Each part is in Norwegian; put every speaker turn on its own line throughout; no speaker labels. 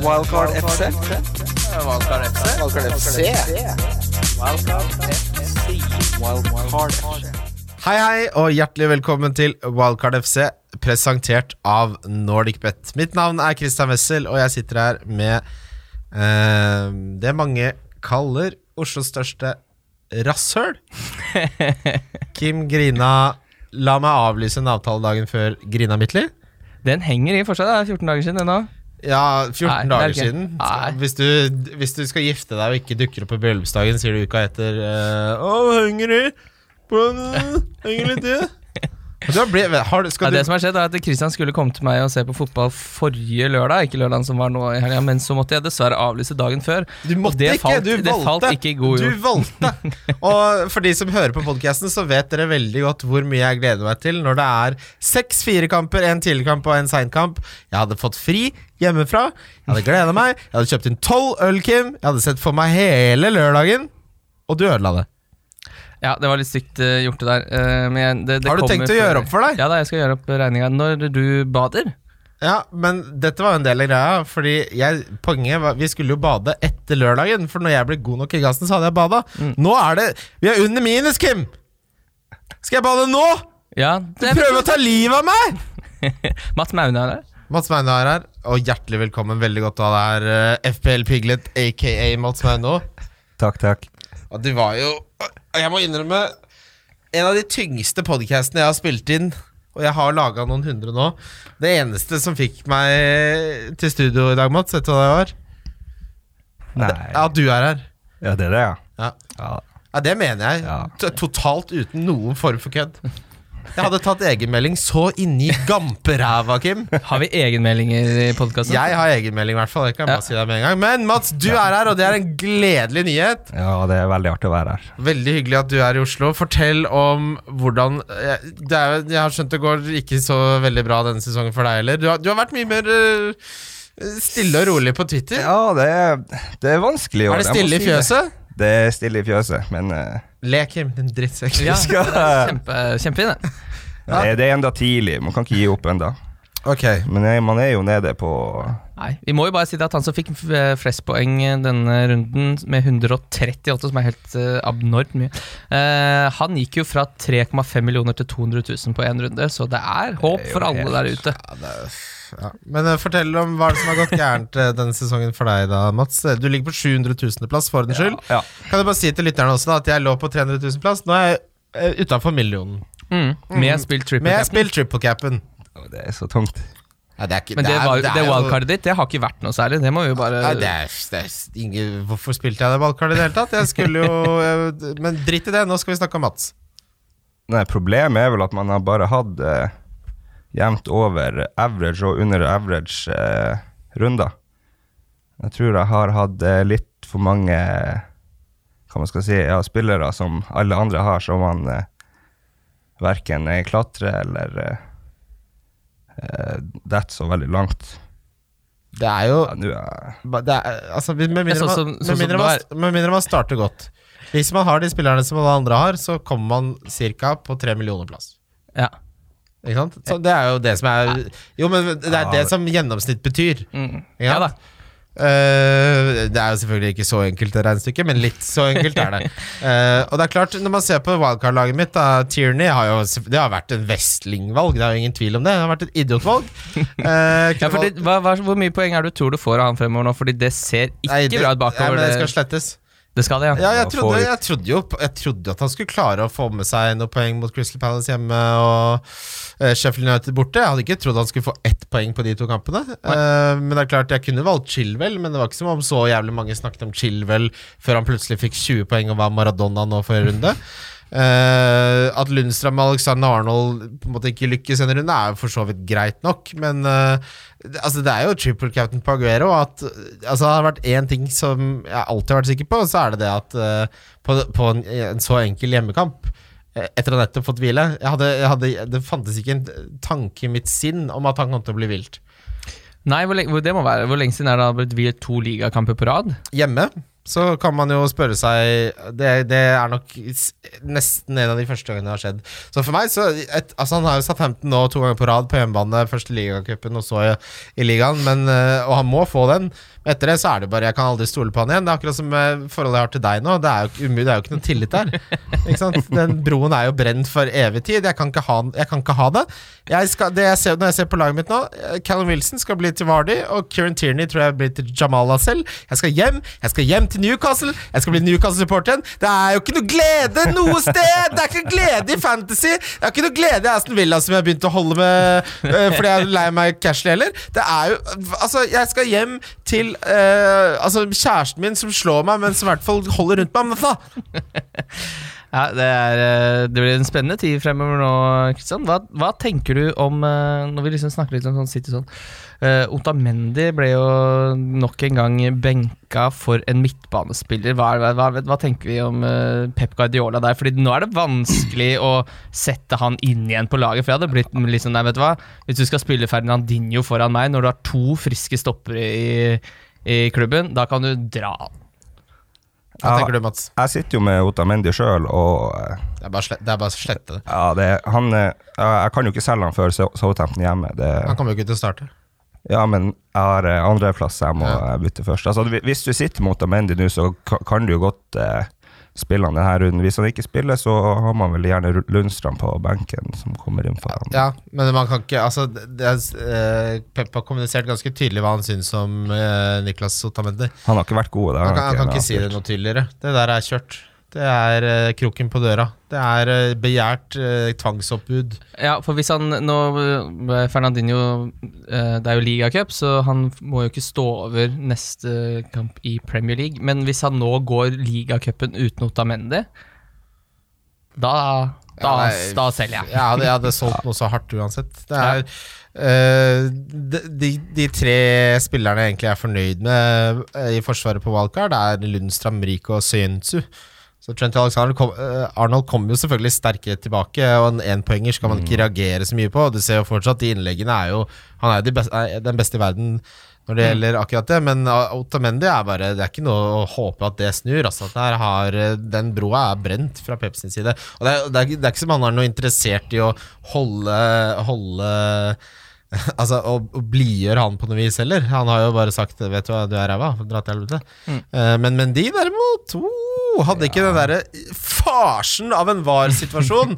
Wildcard FC.
Wildcard FC.
Wildcard FC. Wildcard FC.
Hei, hei, og hjertelig velkommen til Wildcard FC, presentert av NordicBet. Mitt navn er Christian Wessel, og jeg sitter her med eh, det mange kaller Oslos største rasshøl. Kim Grina La meg avlyse en avtale dagen før Grina Mittli.
Den henger i fortsatt. Det er 14 dager siden ennå.
Ja, 14
Nei, det er
dager
ikke-
siden.
Nei.
Hvis du, hvis du skal gifte deg og ikke dukker opp på bryllupsdagen, sier du uka etter eh, Å, henger i! På- Henger litt i! Du har blitt, har du,
Ja,
skal du
det som har skjedd er at Kristian skulle komme til meg og se på fotball forrige lørdag, ikke lørdagen som var nå i helga, men så måtte jeg dessverre avlyse dagen før.
Du måtte
og det
ikke,
falt,
du valgte.
Det falt ikke i god
Du
jord.
valgte. Og for de som hører på podkasten, så vet dere veldig godt hvor mye jeg gleder meg til når det er seks firekamper, en tidligkamp og en seinkamp. Jeg hadde fått fri hjemmefra. Jeg hadde gleda meg. Jeg hadde kjøpt inn tolv øl, Kim. Jeg hadde sett for meg hele lørdagen, og du ødela det.
Ja, det var litt stygt eh, gjort, det der. Eh, men jeg- det, det
Har du
kommer
tenkt å gjøre opp for deg?
Ja da, jeg skal gjøre opp regninga når du bader.
Ja, men dette var jo en del av greia, fordi jeg, poenget var Vi skulle jo bade etter lørdagen, for når jeg ble god nok i gassen, så hadde jeg bada. Nå er det Vi er under minus, Kim! Skal jeg bade nå?
Ja,
Du prøver å ta livet av meg!
Mats Maune er der.
Mats Maune er her, og hjertelig velkommen. Veldig godt å ha deg her, eh, FPL Piglet, aka Mats Maune.
Takk, takk.
Og du var jo og Jeg må innrømme En av de tyngste podcastene jeg har spilt inn Og jeg har laget noen hundre nå Det eneste som fikk meg til studio i dag, Mats Vet du hva det var?
Nei
Ja, du er her
Ja, det er det, ja.
Ja,
ja.
ja det mener jeg
Ja.
T- Totalt uten noen form for kødd Jeg hadde tatt egenmelding så inni gamperæva, Kim
Har vi egenmeldinger i podkasten?
Jeg har egenmelding i hvert fall Det kan jeg
Ja.
bare si deg med en gang Men Mats, du er her, og det er en gledelig nyhet
Ja, det er veldig artig å være her.
Veldig hyggelig at du er i Oslo. Fortell om hvordan eh, det er, Jeg har skjønt det går ikke så veldig bra denne sesongen for deg heller. Du har, du har vært mye mer eh, stille og rolig på Twitter.
Ja, det er, det er vanskelig i år,
er det
jeg må
stille i
si det.
fjøset?
Det er stille i fjøset, men eh,
Lek hjem, din drittsekk.
Ja,
skal-
det er kjempe, kjempefin, det.
Ja.
det, er- det er enda tidlig. Man kan ikke gi opp enda.
Ok.
Men jeg, man er jo nede på
Nei, Vi må jo bare si det at han som fikk eh, flest poeng eh, denne runden, med 138, som er helt eh, abnormt mye, eh, han gikk jo fra 3,5 millioner til 200 000 på én runde, så det er håp
Det er jo
for alle
helt-
der ute.
Ja. Men eh, fortell om hva er det som har gått gærent eh, denne sesongen for deg, da, Mats. Eh, Du ligger på 700 000.-plass, for ordens skyld.
Ja.
Kan du bare si til lytterne også da, at jeg lå på 300 000.-plass? Nå er jeg utafor millionen.
Mm. Med spilt triple
Men jeg har
cap.
spilt triple capen.
Det er så tungt.
Ja, det er ikke-
Men det,
er-
var, det,
er jo-
wildcardet ditt det har ikke vært noe særlig. Det må vi jo bare
Nei, det er, det er ingen, hvorfor spilte jeg det ballkartet i det hele tatt? Jeg skulle jo jeg, Men dritt i det, nå skal vi snakke om Mats.
Nei, problemet er vel at man har bare hatt eh, jevnt over average og under average eh, runder. Jeg tror jeg har hatt eh, litt for mange eh, hva man skal si, ja, spillere som alle andre har, som man eh, verken eh, klatrer eller eh, eh, detter så veldig langt.
Det er jo
Ja, nå eh, er
ba- det er, altså, Med mindre
sånn
man- med
som- sånn som
mindre
det
man
er-
med mindre man starter godt. Hvis man har de spillerne som alle andre har, så kommer man ca. på tre millioner plass.
ja.
Ikke sant? Så det er jo det som er Jo, men det er det som gjennomsnitt betyr.
Mm.
Ja.
ja da.
Eh, det er jo selvfølgelig ikke så enkelt det regnestykket, men litt så enkelt er det. Eh, og det er klart, når man ser på wildcard-laget mitt, da, Tierney har jo selvf- Det har vært en Westling-valg, det er jo ingen tvil om det. Det har vært et idiotvalg. Eh,
Ja,
kunne
fordi,
valgt-
hva, hva, hvor mye poeng er det du tror du får av han fremover nå? Fordi det ser ikke
Nei, det-
bra ut bakover.
Nei, men det
det,
skal slettes.
det skal det, ja.
Ja, jeg
Da
trodde,
får vi-
jeg trodde jo jeg trodde at han skulle klare å få med seg noen poeng mot Crystal Palace hjemme og eh, Sheffield United borte. Jeg hadde ikke trodd han skulle få ett poeng på de to kampene. Eh, men det er klart, jeg kunne valgt Chilwell, men det var ikke som om så jævlig mange snakket om Chilwell før han plutselig fikk 20 poeng og var Maradona nå forrige runde. Eh, at Lundstrøm og Alexander Arnold på en måte ikke lykkes en runde, er jo for så vidt greit nok, men eh, det- altså, det er jo triple captain på Aguero. At, altså, det har vært én ting som jeg alltid har vært sikker på, så er det det at eh, på, på en, en så enkel hjemmekamp eh, etter å ha nettopp fått hvile jeg hadde, jeg hadde, Det fantes ikke en tanke i mitt sinn om at han kom til å bli vilt.
Nei, hvor lenge, hvor- det må være. Hvor lenge siden er det det har blitt hvilt to ligakamper på rad?
Hjemme så kan man jo spørre seg Det, det er nok s- nesten en av de første gangene det har skjedd. Så for meg, så et, altså Han har jo satt 15 nå to ganger på rad på hjemmebane. Først i ligacupen og så i, i ligaen, men, eh, og han må få den. Men etter det så er det bare Jeg kan aldri stole på han igjen. Det er akkurat som eh, forholdet jeg har til deg nå. Det er jo, ikke- umulig, det er jo ikke noe tillit der. Ikke sant? Den broen er jo brent for evig tid. Jeg kan ikke ha, jeg kan ikke ha det. Jeg skal, det jeg ser, når jeg ser på laget mitt nå, eh, Callum Wilson skal bli til Vardy, og Kieran Tierney tror jeg blir til Jamala selv. Jeg skal hjem, jeg skal hjem til Newcastle, jeg skal bli Newcastle-supporter igjen. Det er jo ikke noe glede noe sted! Det er ikke glede i fantasy! Det er ikke noe glede i Aston Villa som jeg begynte å holde med eh, fordi jeg er lei meg cashly heller. Det er jo Altså, jeg skal hjem til eh, altså, kjæresten min som slår meg, men som i hvert fall holder rundt meg. Men faen!
Ja, det, er, eh, det blir en spennende tid fremover nå, Kristian. Hva, hva tenker du om eh, Når vi liksom snakker litt om sånn City sånn eh, Otamendi ble jo nok en gang benka for en midtbanespiller. Hva, er- hva, hva, hva tenker vi om eh, Pep Guardiola der? Fordi nå er det vanskelig å sette han inn igjen på laget. For jeg hadde blitt liksom Nei, vet du hva. Hvis du skal spille Fernandinho foran meg når du har to friske stoppere i, i klubben, da kan du dra han.
Hva
Ja.
tenker du, Mats?
Jeg sitter jo med Otamendi sjøl, og eh,
Det er bare sle- det er bare å slette det.
ja, det, han, eh, ja, jeg kan jo ikke selge han før Sau- Southampton hjemme. Det,
Han kommer jo ikke til å starte.
ja, men jeg har eh, andreplass jeg må
Ja.
eh, bytte først. Altså, hvi- hvis du sitter med Otamendi nå, så ka- kan du jo godt eh, spille han denne runden. Hvis han ikke spiller, så har man vel gjerne Ru- Lundstrand på benken, som kommer inn for han.
Ja, men man kan ikke altså, det, det er, eh, Pep har kommunisert ganske tydelig hva han syns om eh, Niklas Otamendi.
Han har ikke vært god. det har
Han kan, han kan
Nei,
ikke si det noe tydeligere. Det der er kjørt. Det er eh, kroken på døra. Det er eh, begjært eh, tvangsoppbud.
Ja, for hvis han nå eh, Fernandinho eh, Det er jo ligacup, så han f- må jo ikke stå over neste kamp i Premier League. Men hvis han nå går ligacupen uten Otamendi, da, da,
Ja, nei,
da selger jeg.
Jeg hadde, jeg hadde solgt noe så hardt uansett. Det er eh, de, de, de tre spillerne jeg egentlig er fornøyd med eh, i forsvaret på wildcard, det er Lundstrand, Mriko og Søyensu. Så Trent Alexander kom, eh, Arnold kommer jo selvfølgelig sterkere tilbake, og en énpoenger skal man ikke reagere så mye på. Og du ser jo fortsatt, de innleggene er jo Han er jo de bes- er den beste i verden når det gjelder akkurat det, men ah, Otamendi er bare Det er ikke noe å håpe at det snur. Altså, at der har, eh, den broa er brent fra Peps sin side. Og det er, det, er, ikke- det er ikke som han er noe interessert i å holde, holde Altså, å, å blidgjøre han på noe vis heller. Han har jo bare sagt 'vet du hva, du er ræva', dra til helvete. Eh, men, men de derimot oh, Hadde ikke den derre farsen av en var-situasjon.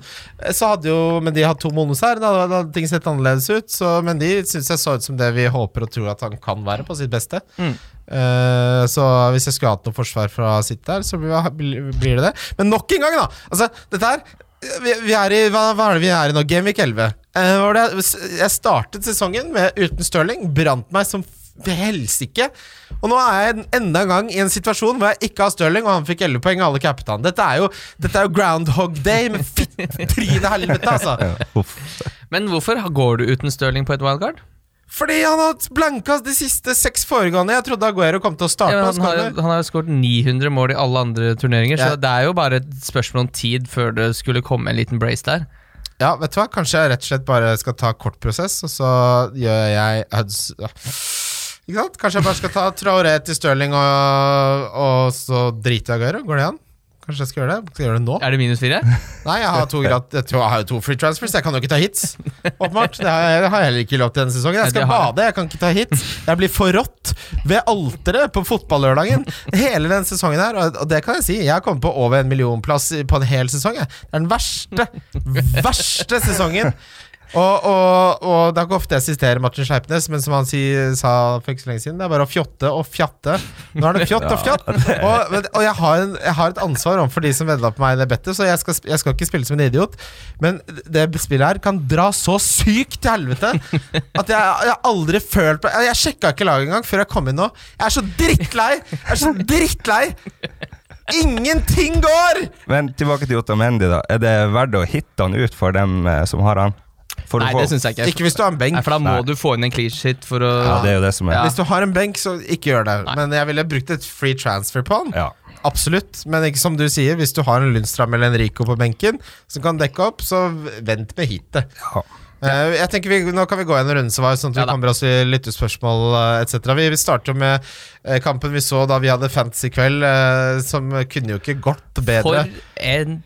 eh, så hadde jo Men de hatt to måneder her, da hadde da hadde ting sett annerledes ut. Så, men de syns jeg så ut som det vi håper og tror at han kan være på sitt beste. Eh, så hvis jeg skulle hatt noe forsvar fra sitt der, så blir blir det det. Men nok en gang, da! Altså, dette her vi, vi er i, hva, hva er det vi er i nå? Gameweek 11. Eh, var det, jeg startet sesongen med, uten Stirling, brant meg som f- helsike. Og nå er jeg en- enda en gang i en situasjon hvor jeg ikke har Stirling, og han fikk 11 poeng, og alle cappet han. Dette er jo, dette er jo Groundhog Day med fittryne helvete, altså.
Ja, uff.
Men hvorfor ha- går du uten Stirling på et wildcard?
Fordi han har hatt blanka de siste seks foregående. Jeg trodde Aguero kom til å starte.
Ja,
og
men
så
han har
kommer-
jo- han har jo skåret 900 mål i alle andre turneringer,
Ja.
så det er jo bare et spørsmål om tid før det skulle komme en liten brace der.
Ja, vet du hva? Kanskje jeg rett og slett bare skal ta kort prosess, og så gjør jeg Huds... ja. Ikke sant? Kanskje jeg bare skal ta Traoré til Stirling, og, og så driter jeg i Aguero? Går det an? Kanskje jeg skal gjøre det? Skal jeg gjøre det nå?
Er det minus fire?
Nei, jeg har, to grat jeg tror jeg har jo to free transfers, jeg kan jo ikke ta hits. Åpenbart. Det har jeg det har jeg heller ikke lov til denne sesongen. Jeg
Nei,
skal
det har jeg.
bade, jeg kan ikke ta hits. Jeg blir forrådt ved alteret på fotballørdagen hele denne sesongen her, og og det kan jeg si. Jeg har kommet på over en millionplass i- på en hel sesong. Jeg. Det er den verste, verste sesongen. Og, og, og det er ikke ofte jeg siterer Martin Sleipnes, men som han si, sa for ikke så lenge siden, det er bare å fjotte og fjatte. Nå er det fjott og fjatt! Og, men- og jeg, har en, jeg har et ansvar overfor de som vedda på meg i det bettet, så jeg skal, sp- jeg skal ikke spille som en idiot. Men det spillet her kan dra så sykt til helvete at jeg, jeg har aldri følt på Jeg sjekka ikke laget engang før jeg kom inn nå. Jeg er så drittlei! Jeg er så drittlei! Ingenting går!
Men tilbake til Otamendi, da. Er det verdt å hitte han ut for dem eh, som har han? For å
Nei,
få-
det syns jeg ikke.
Ikke hvis du har en benk.
Nei, for da må
Nei.
du få inn en clean shit for å
Ja, det er jo det som er
Ja.
Hvis du har en benk, så ikke gjør det. Men jeg ville brukt et free transfer på han.
Ja.
Absolutt. Men ikke som du sier, hvis du har en Lundstrand eller en Rico på benken som kan dekke opp, så vent med hitet.
Ja.
Eh, jeg tenker vi, Nå kan vi gå en rundesvar, sånn at vi
Ja da.
kommer oss i lyttespørsmål eh, etc. Vi, vi starter jo med eh, kampen vi så da vi hadde Fantasy-kveld, eh, som kunne jo ikke gått bedre.
For en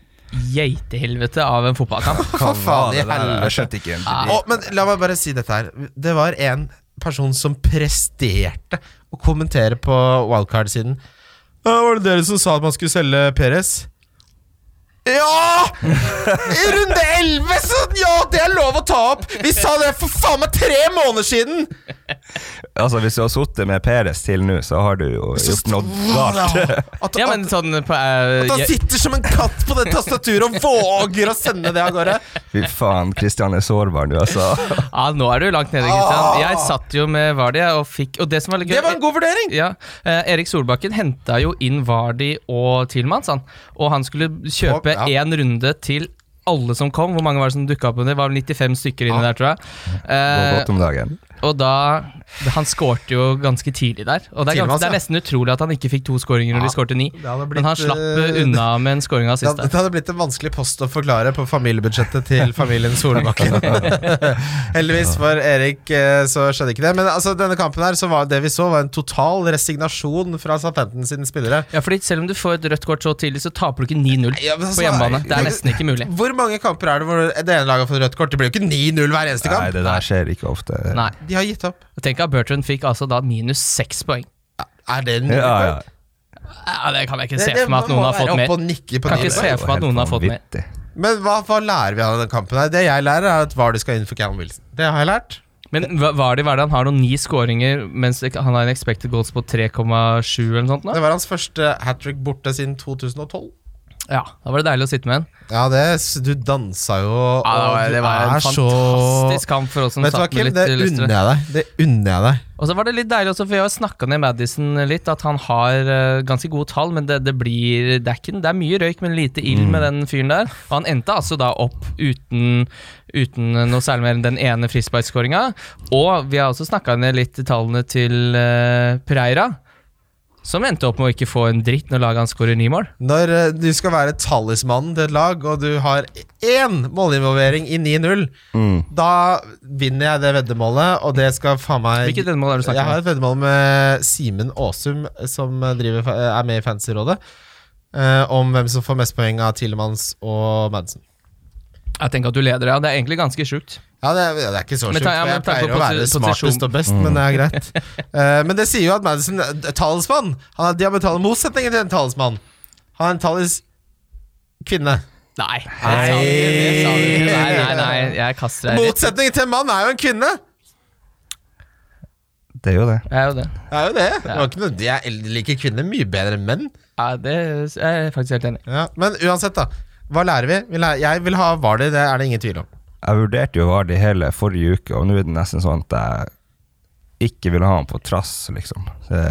geitehelvete av en fotballkamp.
Hva faen i
Det der,
helvete?
Jeg skjønte ikke en
Ah.
drit.
Å, men la meg bare si dette her. Det var en person som presterte å kommentere på wildcard-siden. Ja, var det dere som sa at man skulle selge Perez? Ja! I runde 11, så ja, det er lov å ta opp! Vi sa det for faen meg tre måneder siden!
Altså, hvis du har sittet med Peres til nå, så har du jo gjort noe galt.
At,
Ja, men
at,
sånn på, eh,
at han sitter som en katt på det tastaturet og våger å sende det av gårde.
Fy faen, Kristian er sårbar nå, altså.
ja, Nå er du langt nede, Kristian. Jeg satt jo med Vardi jeg, og fikk Og det som var litt
Ah.
gøy
Det var en god vurdering!
ja, eh, Erik Solbakken henta jo inn Vardi og Tilmans, han. Og han skulle kjøpe
Og-
én runde til alle som kom. Hvor mange var det som dukka opp under? Det var vel 95 stykker inne
Ah.
der, tror jeg.
Går
Eh,
godt om dagen.
Og da Han skårte jo ganske tidlig der. Og det
Tidligere,
er, ganske, det er
ja.
nesten utrolig at han ikke fikk to skåringer når de skårte ni.
det hadde blitt,
Men han slapp
eh,
eh, unna med en skåring av
Det hadde,
siste.
det hadde blitt en vanskelig post å forklare på familiebudsjettet til familien Solbakken. Heldigvis for Erik eh, så skjedde ikke det. Men altså, denne kampen her, så var det vi så, var en total resignasjon fra Southampton sine spillere.
Ja, fordi Selv om du får et rødt kort så tidlig, så taper du ikke 9-0
Ja, men altså,
på hjemmebane. Det er nesten ikke mulig.
Hvor mange kamper er det hvor det ene laget har fått rødt kort? Det blir jo ikke 9-0 hver eneste
Eh, Nei,
kamp.
det der skjer ikke ofte.
Nei.
De har gitt opp.
Tenk at Bertrand fikk altså da minus seks poeng.
Er det
Ja,
mulig?
ja.
Ja, Det kan jeg ikke
Det-
se
det
for meg
må
at noen har
være
fått
opp
mer.
og nikke på
Kan
de
ikke se
der.
for meg at noen har fått mer.
Vanvittig.
Men hva, hva lærer vi av denne kampen? her? Det jeg lærer, er at VAR skal inn for Callum Wilson. Det har jeg lært.
Men hva- var det hva er det han har noen ni skåringer, mens det- han har en expected goals på 3,7 eller noe sånt? nå?
Det var hans første hat trick borte siden 2012.
Ja, Da var det deilig å sitte med en.
Ja, det, s- du dansa jo og
Ja, det var,
du
det var en
er så-
fantastisk kamp for oss som
Vet du hva,
satt med
Kim?
litt
Det
eh, lystre.
unner jeg deg. Det unner jeg deg.
Og så var det litt deilig også, for vi har snakka ned Madison litt, at han har eh, ganske gode tall, men det, det blir det er, ikke, det er mye røyk, men lite ild
Mm.
med den fyren der. Og han endte altså da opp uten, uten noe særlig mer enn den ene frisparkskåringa. Og vi har også snakka ned litt tallene til eh, Pereira, som endte opp med å ikke få en dritt når laget hans skårer ni mål.
Når eh, du skal være talismannen til et lag, og du har én målinvolvering i 9-0,
Mm,
da vinner jeg det veddemålet, og det skal faen meg
Hvilket veddemål er det du
Jeg
snakker
har
om?
et veddemål med Simen Aasum, som driver, fa- er med i Fantasyrådet, eh, om hvem som får mest poeng av Tilemanns og Madsen.
Jeg tenker at du leder, ja. Det er egentlig ganske sjukt.
Ja, det, er- det er ikke så
Men
sjukt,
ta- ja,
for
men
jeg
ta
pleier
på
å være
posi-
smartest
posisjon. Mm.
og best, men det er greit. Eh, men det sier jo at Madison eh, Talismann Han er diametral motsetning til en talismann. Han er en talis... kvinne.
Nei. det sa du ikke, det sa du ikke. Nei, nei, nei. Jeg kaster deg rett.
Motsetning til en mann er jo en kvinne!
Det er jo det.
Det er jo det.
Det er jo det. det var ikke noe, jeg el- liker kvinner mye bedre enn menn.
Ja, det er jeg faktisk helt enig i.
Ja, men uansett, da. Hva lærer vi? vi lærer, jeg vil ha Vardy, det er det ingen tvil om.
Jeg vurderte jo Vardi hele forrige uke, og nå er det nesten sånn at jeg ikke vil ha han på trass, liksom. Det,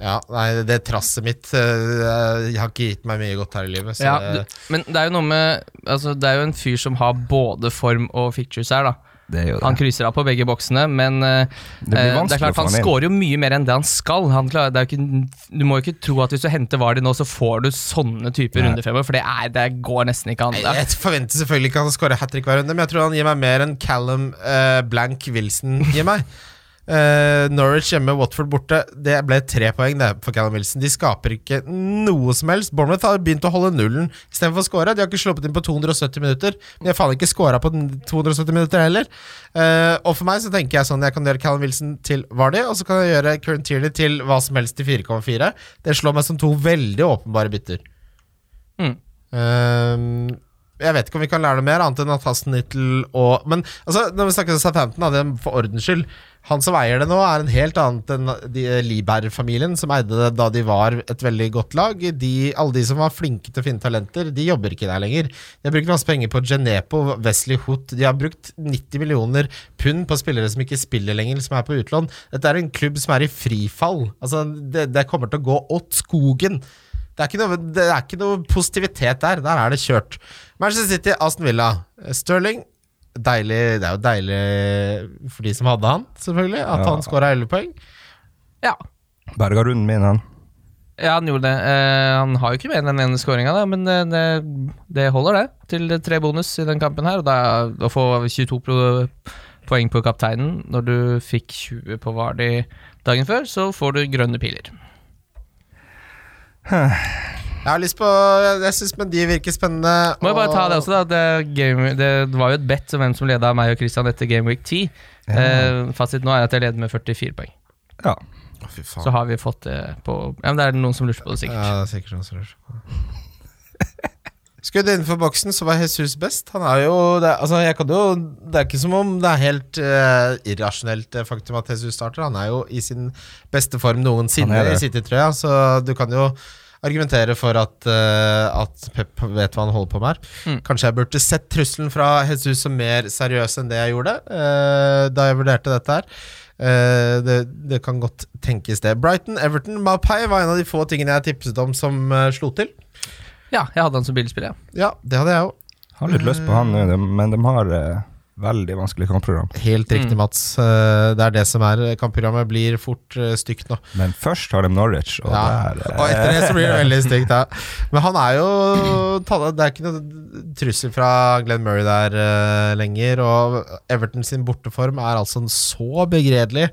Ja, nei, Det trasset mitt eh, Jeg har ikke gitt meg mye godt her i livet. Så
Ja,
det-
du, men det er jo noe med altså, Det er jo en fyr som har både form og fictures her, da.
det er jo
Han
det.
krysser av på begge boksene, men eh,
blir
eh, det
vanskelig
er klart
å få
han
han inn.
scorer jo mye mer enn det han skal. Han klarer, det er jo ikke, du må jo ikke tro at hvis du henter Vardy nå, så får du sånne typer runder fremover, for det, er, det går nesten ikke an.
Jeg,
Det er-
jeg forventer selvfølgelig ikke at han skårer hat trick hver runde, men jeg tror han gir meg mer enn Callum eh, Blank Wilson gir meg. Eh, Norwich hjemme, Watford borte. Det ble tre poeng det for Callum Wilson. De skaper ikke noe som helst. Bournemouth har begynt å holde nullen istedenfor å score. De har ikke sluppet inn på 270 minutter. De har faen ikke scora på den 270 minutter heller. Eh, og for meg så tenker jeg sånn jeg kan gjøre Callum Wilson til Vardy, og så kan jeg gjøre Kieran Tierney til hva som helst til 4,4. Det slår meg som to veldig åpenbare bytter. Ehm, jeg vet ikke om vi kan lære noe mer, annet enn at Hassen Nittel og Men altså, når vi snakker om Southampton, da, det for ordens skyld Han som eier det nå, er en helt annet enn de- Lieberg-familien, som eide det da de var et veldig godt lag. De, alle de som var flinke til å finne talenter, de jobber ikke der lenger. De har brukt masse penger på Genepo, Wesley Hoot De har brukt 90 millioner pund på spillere som ikke spiller lenger, som er på utlån. Dette er en klubb som er i frifall. Altså, det, det kommer til å gå åt skogen. Det er, ikke noe, det er ikke noe positivitet der. Der er det kjørt. Manchester City, Aston Villa. Sterling deilig, Det er jo deilig for de som hadde han, selvfølgelig, at
Ja.
han skåra 11 poeng.
ja.
Berga runden min, han.
Ja, han gjorde det. Eh, han har jo ikke mer enn den ene skåringa, men eh, det, det holder, det. Til tre bonus i den kampen her. Og da, å få 22 pro poeng på kapteinen når du fikk 20 på Vardi dagen før, så får du grønne piler.
Jeg har lyst på Jeg syns de virker spennende.
Må jeg bare
og-
ta det også, da. Det, game, det var jo et bet om hvem som leda meg og Christian etter Game Week 10. Eh, fasit nå er at jeg leder med 44 poeng.
Ja.
Å, fy faen.
Så har vi fått det på Ja, men det er noen som lurte på det, sikkert.
Ja, det er sikkert noen som lurer på det. Skudd innenfor boksen, så var Jesus best. Han er jo det, er- altså jeg kan jo, det er ikke som om det er helt eh, irrasjonelt eh, faktum at Jesus starter. Han er jo i sin beste form
Han er
noensinne
det.
i City-trøya, så du kan jo argumentere for at, eh, at Pep vet hva han holder på med her.
Mm.
Kanskje jeg burde sett trusselen fra Jesus som mer seriøs enn det jeg gjorde eh, da jeg vurderte dette her. Eh, det, det kan godt tenkes, det. Brighton, Everton, Mapai var en av de få tingene jeg tipset om som eh, slo til.
Ja, jeg hadde han som bilspill, ja.
Ja, det hadde jeg òg.
Har litt lyst på han nå, de- men de har eh, veldig vanskelig kampprogram.
Helt riktig, Mats. Eh, det er det som er kampprogrammet. Blir fort eh, stygt nå.
Men først har de Norwich, og eh,
Ja.
der
Og etter det så blir det veldig stygt. Ja. Men han er jo tallet- Det er ikke noe trussel fra Glenn Murray der eh, lenger. Og Everton sin borteform er altså så begredelig.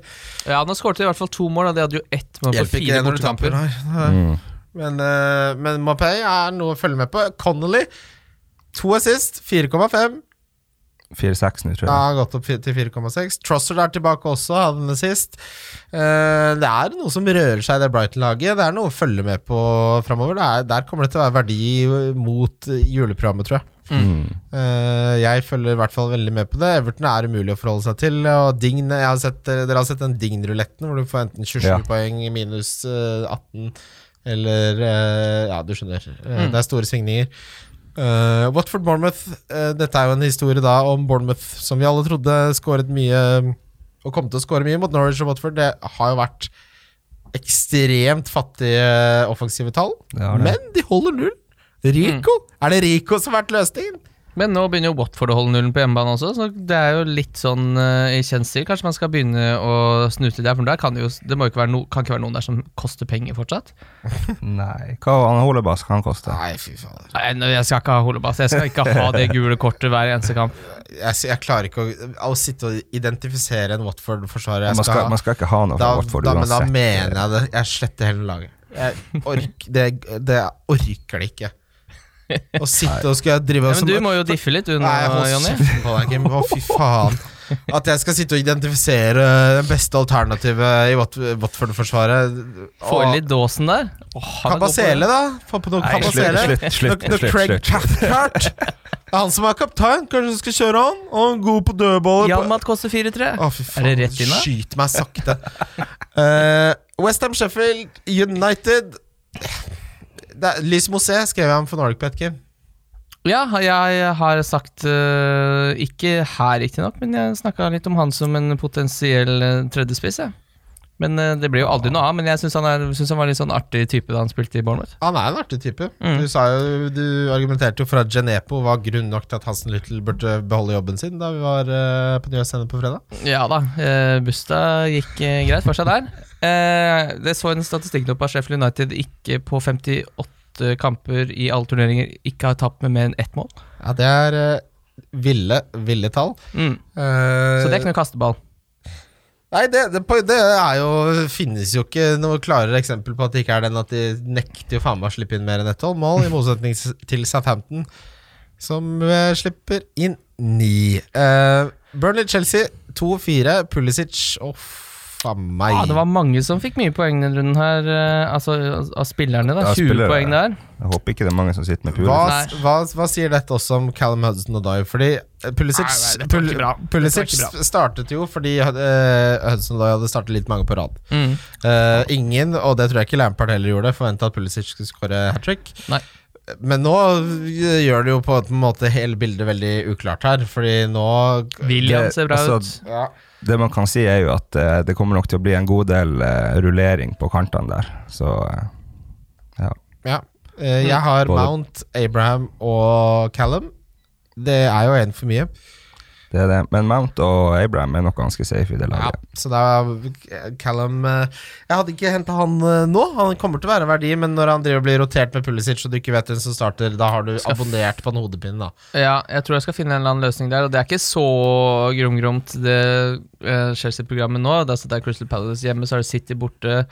Ja, Nå skåret de i hvert fall to mål, og de hadde jo ett mål på
Hjelper ikke
fire
det når du taper.
bortekamper.
Nei. Mm.
mm,
Men, uh, men Mapei er noe å følge med på. Connolly, to assist, 4,5.
4-6 nå, tror
Da
jeg.
har han gått opp fi- til 4,6. Trossard er tilbake også, hadde han sist. Eh, det er noe som rører seg i det Brighton-laget. Det er noe å følge med på framover. Det er- Der kommer det til å være verdi mot eh, juleprogrammet, tror jeg.
Mm.
Eh, jeg følger i hvert fall veldig med på det. Everton er umulig å forholde seg til. Og Dign, jeg har sett, eh, dere har sett den Dign-ruletten hvor du får enten 27
Ja.
poeng minus eh, 18 eller eh, Ja, du skjønner. Eh,
Mm.
Det er store svingninger. Eh, Watford Bournemouth. eh, dette er jo en historie da om Bournemouth som vi alle trodde skåret mye og kom til å skåre mye mot Norwich og Watford. Det har jo vært ekstremt fattige eh, offensive tall,
Det har det. Mm.
men de holder null. Rico! Er det Rico som har vært løsningen?
Men nå begynner jo Watford å holde nullen på hjemmebane også, så det er jo litt sånn eh, i kjent stil. Kanskje man skal begynne å snu til det, for der kan det jo, det må jo ikke være, no, kan ikke være noen der som koster penger fortsatt.
Nei, hva var han Holebass kan koste?
Nei, fy fader.
Nei, nå- jeg skal ikke ha holebass, jeg skal ikke ha det gule kortet hver eneste kamp.
Jeg, jeg klarer ikke å, å sitte og identifisere en Watford-forsvarer jeg
Man skal,
skal ha.
man skal ikke ha noe
Da,
fra Watford
da, men da
uansett.
mener jeg det. Jeg sletter hele laget. Jeg ork, det, det jeg orker det ikke. Å sitte og skal drive
Ja,
og sånn-
men du må jo diffe litt, du nå,
Nei, hold
Jonny.
kjeften på deg, Kim. Å, fy faen. At jeg skal sitte og identifisere det beste alternativet i Wat- Watford-forsvaret.
Få inn
Å,
litt dåsen der. Åh, han er god på
Kabasele,
det.
da? Få på noe
Nei, slutt,
Kabasele.
slutt, slutt,
Når, når
slutt,
Craig
slutt.
Cathcart Det er han som er kaptein. Kanskje du skal kjøre han? Og han er god på dødballer. på-
Janmat koster 4-3.
Å, fy faen.
Er det rett inn, da?
Skyt meg sakte. Eh, West Ham Sheffield United det er, Lys Mosé skrev jeg om for Nordic Pet Kim.
Ja, jeg har sagt eh, Ikke her, riktignok, men jeg snakka litt om han som en potensiell eh, tredjespiss. jeg. Men eh, det ble jo aldri noe av. Men jeg syns han, er- synes han var litt sånn artig type da han spilte i Bournemouth.
Han er en artig type.
Mm.
Du, sa jo, du argumenterte jo for at Genepo var grunn nok til at Hansen Lyttel burde beholde jobben sin da vi var eh, på Nyhetsscenen på fredag.
Ja da, eh, Busta gikk eh, greit for seg der. Eh, det så en statistikk nå på at Sheffield United ikke på 58 kamper i alle turneringer ikke har tapt med mer enn ett mål.
Ja, det er eh, ville, ville tall.
Mm.
Eh,
Så det er ikke noe kasteball.
Nei, det, det, på- det er jo, finnes jo ikke noe klarere eksempel på at det ikke er den at de nekter jo faen meg å slippe inn mer enn ett mål, i motsetning s- til Southampton, som eh, slipper inn ni. Eh, Burnley-Chelsea 2-4, Pulisic Å, faen meg.
Ja, Ah, det var mange som fikk mye poeng denne runden her, eh, altså av- av spillerne. da,
Ja,
20
spillere,
poeng
ja.
der.
Jeg håper ikke det er mange som sitter med pule.
hva, hva, hva sier dette også om Callum Hudson og Doy? Fordi eh, Pulisic,
Nei, nei, dette var
Pul
ikke bra.
Pulisic
Dette var ikke
startet jo fordi eh, Hudson og Doy hadde startet litt mange på rad.
Mm.
Eh, ingen, og det tror jeg ikke Lampard heller gjorde, forventa at Pulisic skulle skåre hat trick.
Nei.
Men nå eh, gjør det jo på en måte hele bildet veldig uklart her, fordi nå
William
Det-
ser bra
altså,
ut.
ja.
Det man kan si, er jo at eh, det kommer nok til å bli en god del eh, rullering på kantene der. Så eh, ja.
Ja. Eh,
Mm.
jeg har
Både-
Mount, Abraham og Callum. Det er jo én for mye.
Det er det. Men Mount og Abraham er nok ganske safe i det
Ja,
laget.
så da er Callum eh, Jeg hadde ikke henta han eh, nå. Han kommer til å være en verdi, men når han driver og blir rotert med Pulisic, og du ikke vet hvem som starter, da har du abonnert på en hodepine, da.
Ja, jeg tror jeg skal finne en eller annen løsning der. Og det er ikke så grumgromt, det eh, Chelsea-programmet nå. Da er det Crystal Palace hjemme, så er det City borte,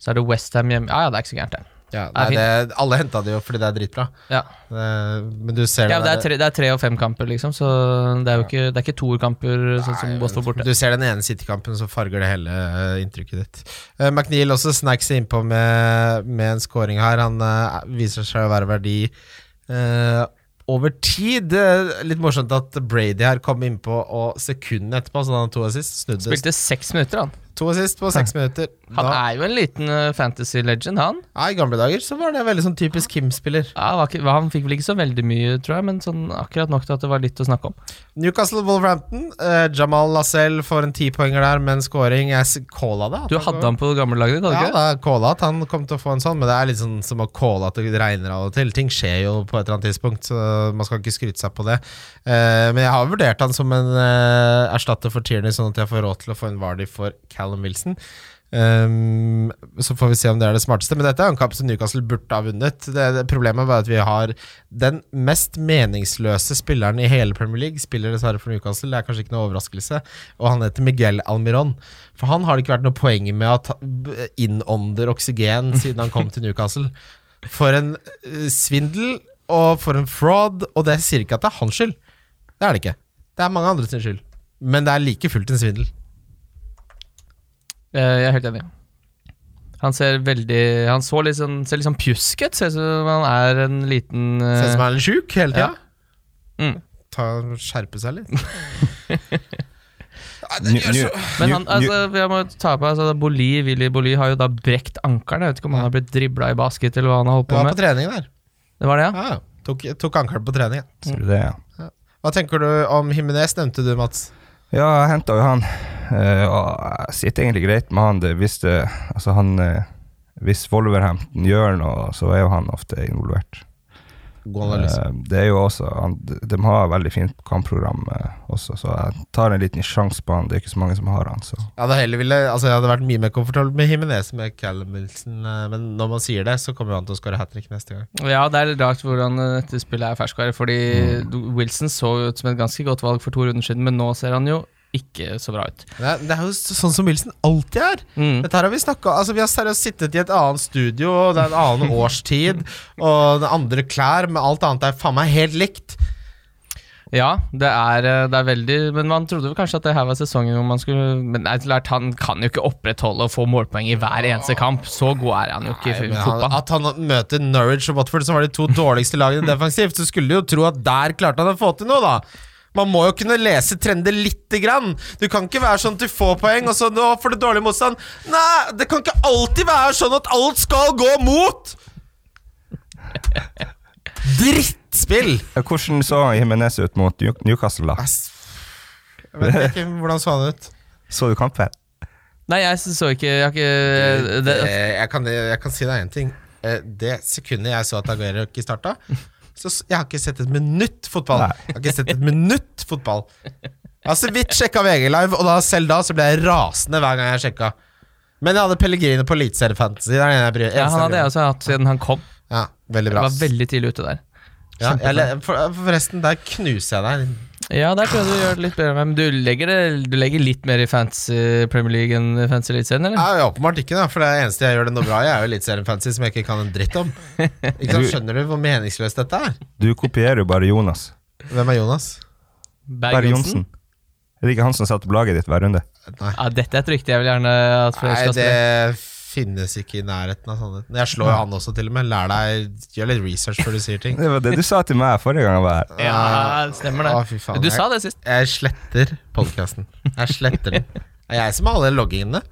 så er det Westham hjemme. Ja, ja, det er ikke så gærent, det.
Ja, nei,
Det
det, alle henta det jo fordi det er dritbra.
Ja.
Eh, Men du ser
Ja, det, er
der-
tre, det er tre og fem kamper, liksom, så det er jo ikke, det er ikke toerkamper, sånn som Boston borte.
Du ser den ene City-kampen, så farger det hele eh, inntrykket ditt. Eh, McNeil også snackser innpå med, med en scoring her. Han eh, viser seg å være verdi eh, over tid. Eh, litt morsomt at Brady her kom innpå, og sekundene etterpå, så han hadde to assist, snudde
Spilte seks minutter, han.
to assist på seks minutter.
Han
Da,
er jo en liten eh, fantasy legend, han.
ja, I gamle dager så var det veldig sånn typisk Kim-spiller.
Ja, han var ikke, han fikk vel ikke så veldig mye, tror jeg, men sånn akkurat nok til at det var litt å snakke om.
Newcastle Wolverhampton. eh, Jamal Lascelles får en tipoenger der med en scoring. Jeg s- calla det. at
Du
han
hadde
går-
han på gammellaget ditt, hadde du
Ja,
ikke? det?
da calla at han kom til å få en sånn, men det er litt sånn som å calle at det regner av og til. Ting skjer jo på et eller annet tidspunkt, så man skal ikke skryte seg på det. Eh, men jeg har vurdert han som en eh, erstatter for Tierney, sånn at jeg får råd til å få en Vardy for Callum Wilson. Ehm, så får vi se om det er det smarteste. Men dette er jo en kamp som Newcastle burde ha vunnet. Det, det Problemet er bare at vi har den mest meningsløse spilleren i hele Premier League. Spiller dessverre for Newcastle, det er kanskje ikke noe overraskelse. Og han heter Miguel Almiron. For han har det ikke vært noe poeng med at b- innånder oksygen siden han kom til Newcastle. For en eh, svindel, og for en fraud, og det sier ikke at det er hans skyld. Det er det ikke. Det er mange andre sin skyld. Men det er like fullt en svindel.
Eh, Jeg er helt enig. Han ser veldig Han så litt sånn, ser litt sånn pjusk ut. Ser ut som han er en liten eh,
Ser ut som han er litt sjuk hele tida.
Mm.
Ta- Skjerpe seg litt. Nei, det
New-
gjør så-
New-
Men han,
New-
altså, jeg må ta på altså, Boli, Willy Boli har jo da brekt ankelen. Jeg vet ikke om han har blitt dribla i basket eller hva han har holdt
Det
på
var på
med.
trening der.
Det var det, ja?
Ja, ja. tok, tok ankelen på trening. ja.
Ser du det, ja.
Hva tenker du om Himinez, nevnte du, Mats?
Ja, jeg henta jo han, eh, og jeg sitter egentlig greit med han. Det, hvis, det, altså han eh, hvis Wolverhampton gjør noe, så er jo han ofte involvert.
God analyse.
Eh, det er jo også, han, De har veldig fint kampprogram eh, også, så jeg tar en liten sjanse på han. Det er ikke så mange som har han, så
Jeg hadde, heller ville, altså jeg hadde vært mye mer komfortabel med Himinez med Callum Wilson, eh, men når man sier det, så kommer jo han til å skåre hat trick neste gang.
Ja, det er litt rart hvordan eh, dette spillet er ferskvare. Fordi
Mm.
du- Wilson så jo ut som et ganske godt valg for to runder siden, men nå ser han jo ikke så bra ut.
Det er, det er jo s- sånn som Wilson alltid er.
Mm.
Dette her har Vi snakket, altså vi har seriøst sittet i et annet studio, og det er en annen årstid, og det er andre klær, men alt annet er faen meg helt likt.
Ja, det er, eh, det er veldig Men man trodde vel kanskje at det her var sesongen hvor man skulle Men det er klart, han kan jo ikke opprettholde og få målpoeng i hver eneste kamp. Så god er han jo ikke i
Men han,
fotball.
at han møter Norwich og Watford, som var de to dårligste lagene defensivt, så skulle du jo tro at der klarte han å få til noe, da. Man må jo kunne lese trender lite grann. Du kan ikke være sånn at du får poeng, og så nå får du dårlig motstand. Nei, det kan ikke alltid være sånn at alt skal gå mot! Drittspill!
Eh, Hvordan så Jimenez ut mot New- Newcastle, da?
Ass. Jeg vet ikke hvordan så han ut.
Så du kampen?
Ah, Nei, jeg så ikke Jeg har ikke det,
Eh, jeg, kan, jeg kan si deg én ting. Eh, Det sekundet jeg så at Aguero ikke starta så s- Jeg har ikke sett et minutt fotball.
Nei.
Jeg har ikke sett et minutt fotball Altså, Jeg har så vidt sjekka VG Live, og da, selv da så ble jeg rasende hver gang jeg sjekka. Men jeg hadde Pellegrine på Eliteserie Fantasy. Det er den ene jeg bryr
Ja,
eneste
Han
jeg
hadde jeg
bryr meg om.
også hatt siden han kom.
Ja, veldig
Jeg
bra.
var veldig tidlig ute der.
Ja, jeg, le- for, forresten, der knuser jeg deg.
Ja, der prøvde du å gjøre det litt bedre, men du legger, det, du legger litt mer i fancy Premier League enn i fancy Eliteserien, eller?
Ja, åpenbart ikke, da, for det eneste jeg gjør det noe bra i, er jo Eliteserien Fantasy, som jeg ikke kan en dritt om. Ikke sant? Skjønner du hvor meningsløst dette er?
Du kopierer jo bare Jonas.
Hvem er Jonas?
Berg Johnsen. Er det ikke han som satte opp laget ditt hver runde?
Nei.
Ja, Ah, dette er et rykte jeg vil gjerne at flere
Nei,
skal
det
spre.
finnes ikke i nærheten av sannheten. Jeg slår jo han også, til og med. Lær deg Gjør litt research før du sier ting.
Det var det du sa til meg forrige gang jeg var her.
Ja, stemmer
Å,
det.
fy faen,
Du
jeg-
sa det sist.
Jeg sletter podkasten. Jeg sletter den. Det er jeg som har alle loggingene.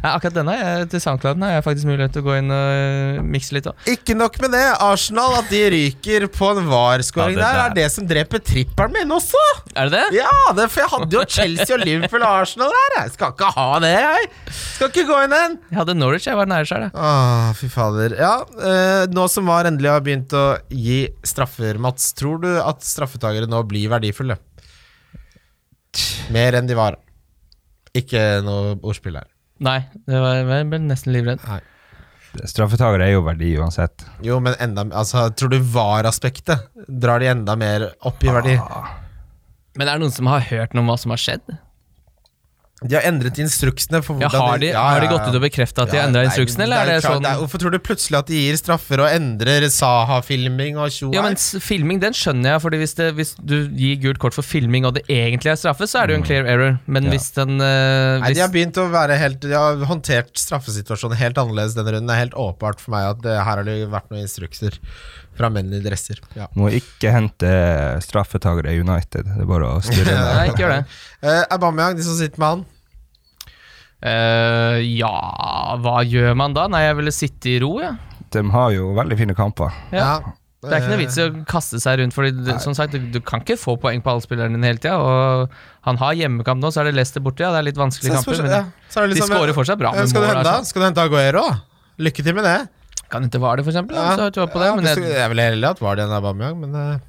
Ja, akkurat denne jeg, til SoundClouden har jeg faktisk mulighet til å gå inn og øh, mikse litt. Også.
Ikke nok med det. Arsenal, at de ryker på en VAR-skåring
Ja, det
der,
der.
er det som dreper trippelen min også!
Er det det?
Ja, det, for jeg hadde jo Chelsea og Liverpool og Arsenal der. Jeg skal ikke ha det, jeg. Skal ikke gå inn den.
Jeg hadde Norwich, jeg var nære sjøl. jeg.
Ah, fy fader. Ja, eh, nå som VAR endelig har begynt å gi straffer, Mats, tror du at straffetakere nå blir verdifulle? Mer enn de var. Ikke noe ordspill her.
Nei, det var, jeg ble nesten livredd.
Straffetaker er jo verdi uansett.
Jo, men enda Altså, tror du VAR-aspektet drar de enda mer opp i verdi?
Men er det noen som har hørt noe om hva som har skjedd?
De har endret instruksene for
Ja,
hvordan
har, de,
ja,
har de
ja,
gått ut og
ja.
bekrefta at de har
Ja,
endra
nei,
instruksen, eller er
det
det
klart-
sånn
det er- Hvorfor tror du plutselig at de gir straffer og endrer Saha-filming og tjo
Ja,
her?
men s- filming den skjønner jeg, Fordi hvis, det, hvis du gir gult kort for filming og det egentlig er straffe, så er det jo en clear error. Men hvis den eh,
Nei, de har
hvis,
begynt å være helt De har håndtert straffesituasjonen helt annerledes denne runden. Det er helt åpenbart for meg at det, her har det vært noen instrukser fra menn i dresser. Ja.
Må ikke hente straffetakere i United. Det er bare å styre inn
Nei,
der.
ikke gjør det.
Eh, Aubameyang, de som sitter med han.
Eh, ja Hva gjør man da? Nei, jeg ville sitte i ro, jeg.
De har jo veldig fine kamper.
Ja. Det er ikke noe vits i å
Eh.
kaste seg rundt, Fordi du, som sagt, du, du kan ikke få poeng på alle spillerne dine hele tida. Og han har hjemmekamp nå, så er det Leicester borte, ja. Det er litt
Eh,
vanskelige kamper, men de skårer fortsatt bra med
liksom, skal, du
mål,
hente,
altså.
skal du hente Aguero? da? Lykke til med det.
kan ikke være det, for eksempel. Ja, hvis du har trua på det,
ja,
men
hvis du,
jeg,
jeg ville heller hatt Vardy enn Aubameyang, men eh,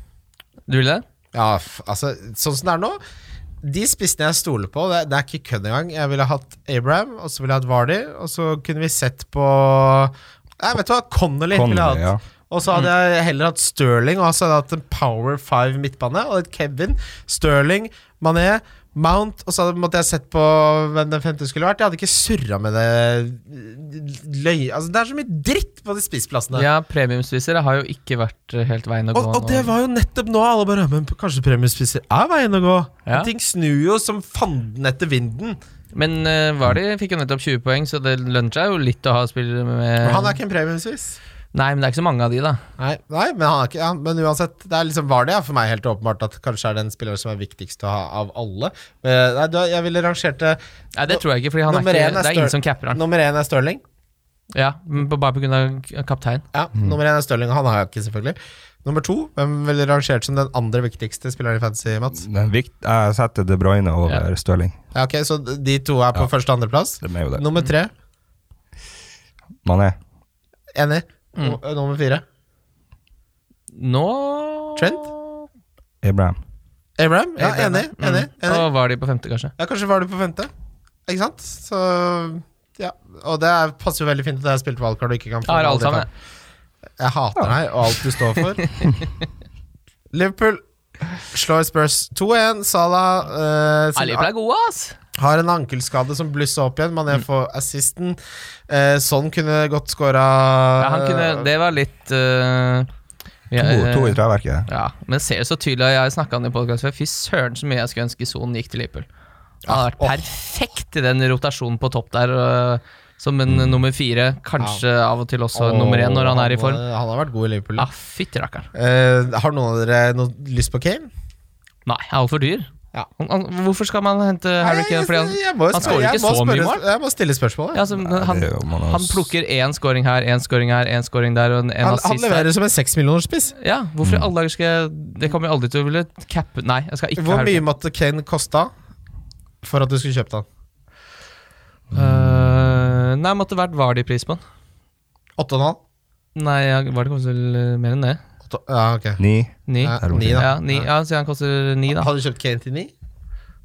du vil det?
Ja, f altså, sånn som det er nå De spissene jeg stoler på, det, det er ikke kødd engang. Jeg ville hatt Abraham, og så ville jeg hatt Vardy, og så kunne vi sett på Nei, vet du hva, Connolly ville jeg
Connolly,
hatt.
ja.
Og så hadde jeg heller hatt Sterling, og så hadde jeg hatt en Power Five midtbane, og et Kevin, Sterling, Mané, Mount, og så hadde, måtte jeg sett på hvem den femte skulle vært. Jeg hadde ikke surra med det løy... Altså, det er så mye dritt på de spissplassene.
Ja, premiumspisere har jo ikke vært eh, helt veien å gå
Og, og det var jo nettopp nå alle bare Men kanskje premiespisser er veien å gå?
Ja.
Men Ting snur jo som fanden etter vinden.
Men uh, Vardy fikk jo nettopp 20 poeng, så det lønner seg jo litt å ha spillere med
Men han er ikke en premiumsviss.
Nei, men det er ikke så mange av de, da.
Nei, nei men, han er ikke, ja, men uansett, det er liksom var det ja, for meg helt åpenbart at kanskje er den spilleren som er viktigst å ha av alle. Men, nei, du, jeg ville rangert det
Nei, Det tror jeg ikke, fordi han er
Nummer
ikke,
én er
det er ingen
Stør-
som capper han.
Nummer én er Stirling.
Ja, men på- Bare pga. kaptein.
Ja, Nummer én er Stirling, og han har jeg ikke, selvfølgelig. Nummer to, hvem ville rangert som den andre viktigste spilleren i fantasy, Mats?
Den vikt, jeg setter De Bruyne over Stirling.
Ja, ok, Så de to er på første og andreplass.
De er jo det.
Nummer tre,
Mané.
enig.
Mm.
No- Nummer fire,
Nå
Trent?
Abraham.
Abraham. Ja, enig.
Mm.
enig, enig.
Og Vardy på femte, kanskje.
Ja, kanskje var det på vente. Ikke sant? Så ja. Og det er, passer jo veldig fint at jeg har spilt valgkart og ikke kan
Jeg har
med
alt
alle de
sammen.
fem. Jeg hater deg og alt du står for. Liverpool slår Spurs 2-1. Salah eh, sin-
Alipel er gode, ass!
har en ankelskade som blussa opp igjen.
Mm.
Mané får assisten. Eh, sånn kunne godt scora
Ja, han kunne, det var litt eh, ja,
To, to i
eh,
treverket.
ja, men det ser jo så tydelig Jeg har snakka om det i podkast før. Fy søren så mye jeg skulle ønske Son gikk til Liverpool. Han har vært
åh.
perfekt i den rotasjonen på topp der, eh, som en eh, nummer fire. Kanskje av og til også
Åh,
nummer én når han er i form.
Han har vært god i Liverpool.
Ja, fytti rakkeren.
Eh, har noen av dere noe lyst på Kane?
Nei, han er altfor dyr.
Ja.
Han, han, hvorfor skal man hente Harry Kane? Fordi han,
jeg må jo
han
spørre-
skårer
jeg
ikke
må
så mye
spørre-
mål.
Jeg må stille spørsmålet.
Ja, altså, men
Nei,
han,
det er jo- man har-
han plukker én scoring her, én scoring her, én scoring der og en, en
Han, han
assist der.
leverer som en seksmillionerspiss.
Ja, hvorfor
Mm.
i alle dager skal jeg Det kommer jeg aldri til å ville cappe Nei, jeg skal ikke ha
Hvor
Harry
mye måtte Kane kosta for at du skulle kjøpt han?
Kane. Øh, nei, måtte vært Vardy-pris på den.
8,5?
Nei, ja, Vardy koster vel eh, mer enn det.
Åtte- Ja, ok.
Ni.
Ni.
Ja,
Ja,
er ok.
ni, da.
ni, ja så han koster ni, da.
Hadde du kjøpt Kane til ni?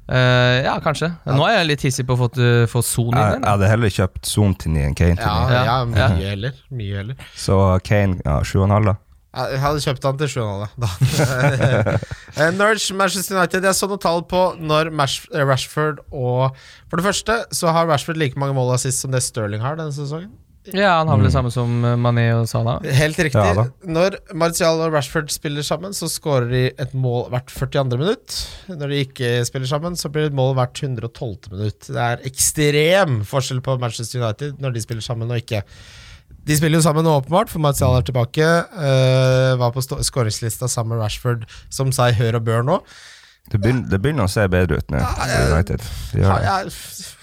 Øh, ja, kanskje. Nå er jeg litt hissig på å få, til- få Son inn.
Jeg, jeg
eller?
hadde heller kjøpt Zoom til ni enn Kane til ni.
Ja, ja,
Ja.
mye heller. Mye heller.
Så Kane ja, sju og en halv, da.
Ja, Jeg hadde kjøpt han til 7,5. da. Eh, Norwich, Manchester United. Jeg så noen tall på når Mash- eh, Rashford og For det første så har Rashford like mange mål assist som det Sterling har denne sesongen.
Ja, han har
Mm.
vel det samme som eh, Mané og Salah.
Helt riktig.
Ja da.
Når Martial og Rashford spiller sammen, så skårer de et mål hvert 42. minutt. Når de ikke spiller sammen, så blir det et mål hvert 112. minutt. Det er ekstrem forskjell på Manchester United når de spiller sammen og ikke. De spiller jo sammen nå, åpenbart, for Martial er tilbake. eh, var på stå- skåringslista sammen med Rashford, som sa i hør og bør nå.
Det begynner, det begynner å se bedre ut nå. for United. Det gjør det.
Ja, jeg-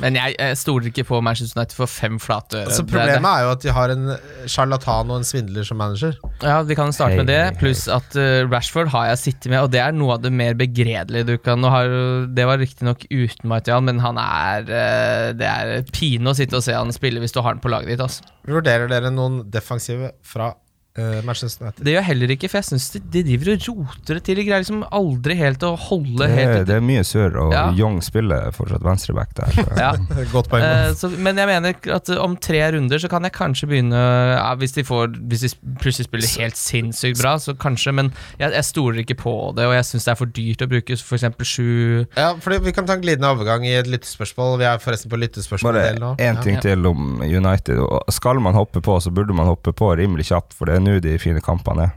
Men jeg, jeg stoler ikke på Manchester United for fem flate øre.
altså,
Det er det.
problemet er jo at de har en sjarlatan og en svindler som manager.
Ja, Vi kan starte med
Hei, hei,
det, pluss at eh, Rashford har jeg sittet med, og det er noe av det mer begredelige du kan nå har, jo- Det var riktignok uten Martial, men han er eh, Det er pine å sitte og se han spille hvis du har han på laget ditt. Altså.
Vurderer dere noen defensive fra eh, Manchester United.
Det gjør jeg heller ikke, for jeg syns de, de driver og roter det til. De greier liksom aldri helt å holde
Det,
helt
er-
etter.
det er mye surr, og
Ja.
Young spiller fortsatt venstreback der. så-
Ja.
Godt poeng.
Eh, så, men jeg mener at eh, om tre runder så kan jeg kanskje begynne ja, Hvis de, får, hvis de sp- plutselig spiller helt sinnssykt bra, så kanskje, men jeg, jeg stoler ikke på det, og jeg syns det er for dyrt å bruke f.eks. sju
Ja, for det- Vi kan ta en glidende overgang i et lyttespørsmål. Vi er forresten på lyttespørsmål
Bare
nå.
én ting
Ja.
til om United. og Skal man hoppe på, så burde man hoppe på rimelig kjapt, for det er nå de fine kampene er.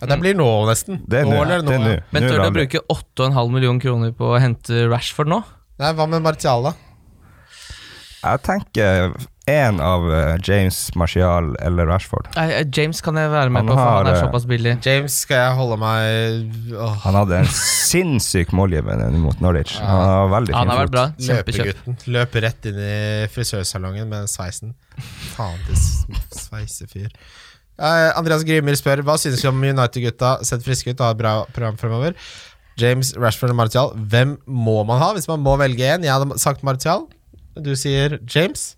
Ja, det blir nå, nesten.
Det er nå.
eller
det er nå.
Men
Nå
tør du å
lander-
bruke 8,5 millioner kroner på å hente Rashford nå?
Nei, Hva med Martial, da?
Jeg tenker én av eh, James Martial eller Rashford.
Eh, eh, James kan jeg være med
Han
på, for han
har,
er
eh,
såpass billig.
James skal jeg holde meg åh,
Han hadde en sinnssyk målgivende mot Norwich. Han har veldig
Han
fin
har vært
fot.
bra. Kjempekjøtt.
Løpegutten. Løp rett inn i frisørsalongen med den sveisen. Faen til s- sveisefyr. Eh, Andreas Grimmer spør hva synes vi om United-gutta. Sett friske ut og har et bra program fremover. James, Rashford og Martial. Hvem må man ha hvis man må velge én? Jeg hadde sagt Martial. Du sier James.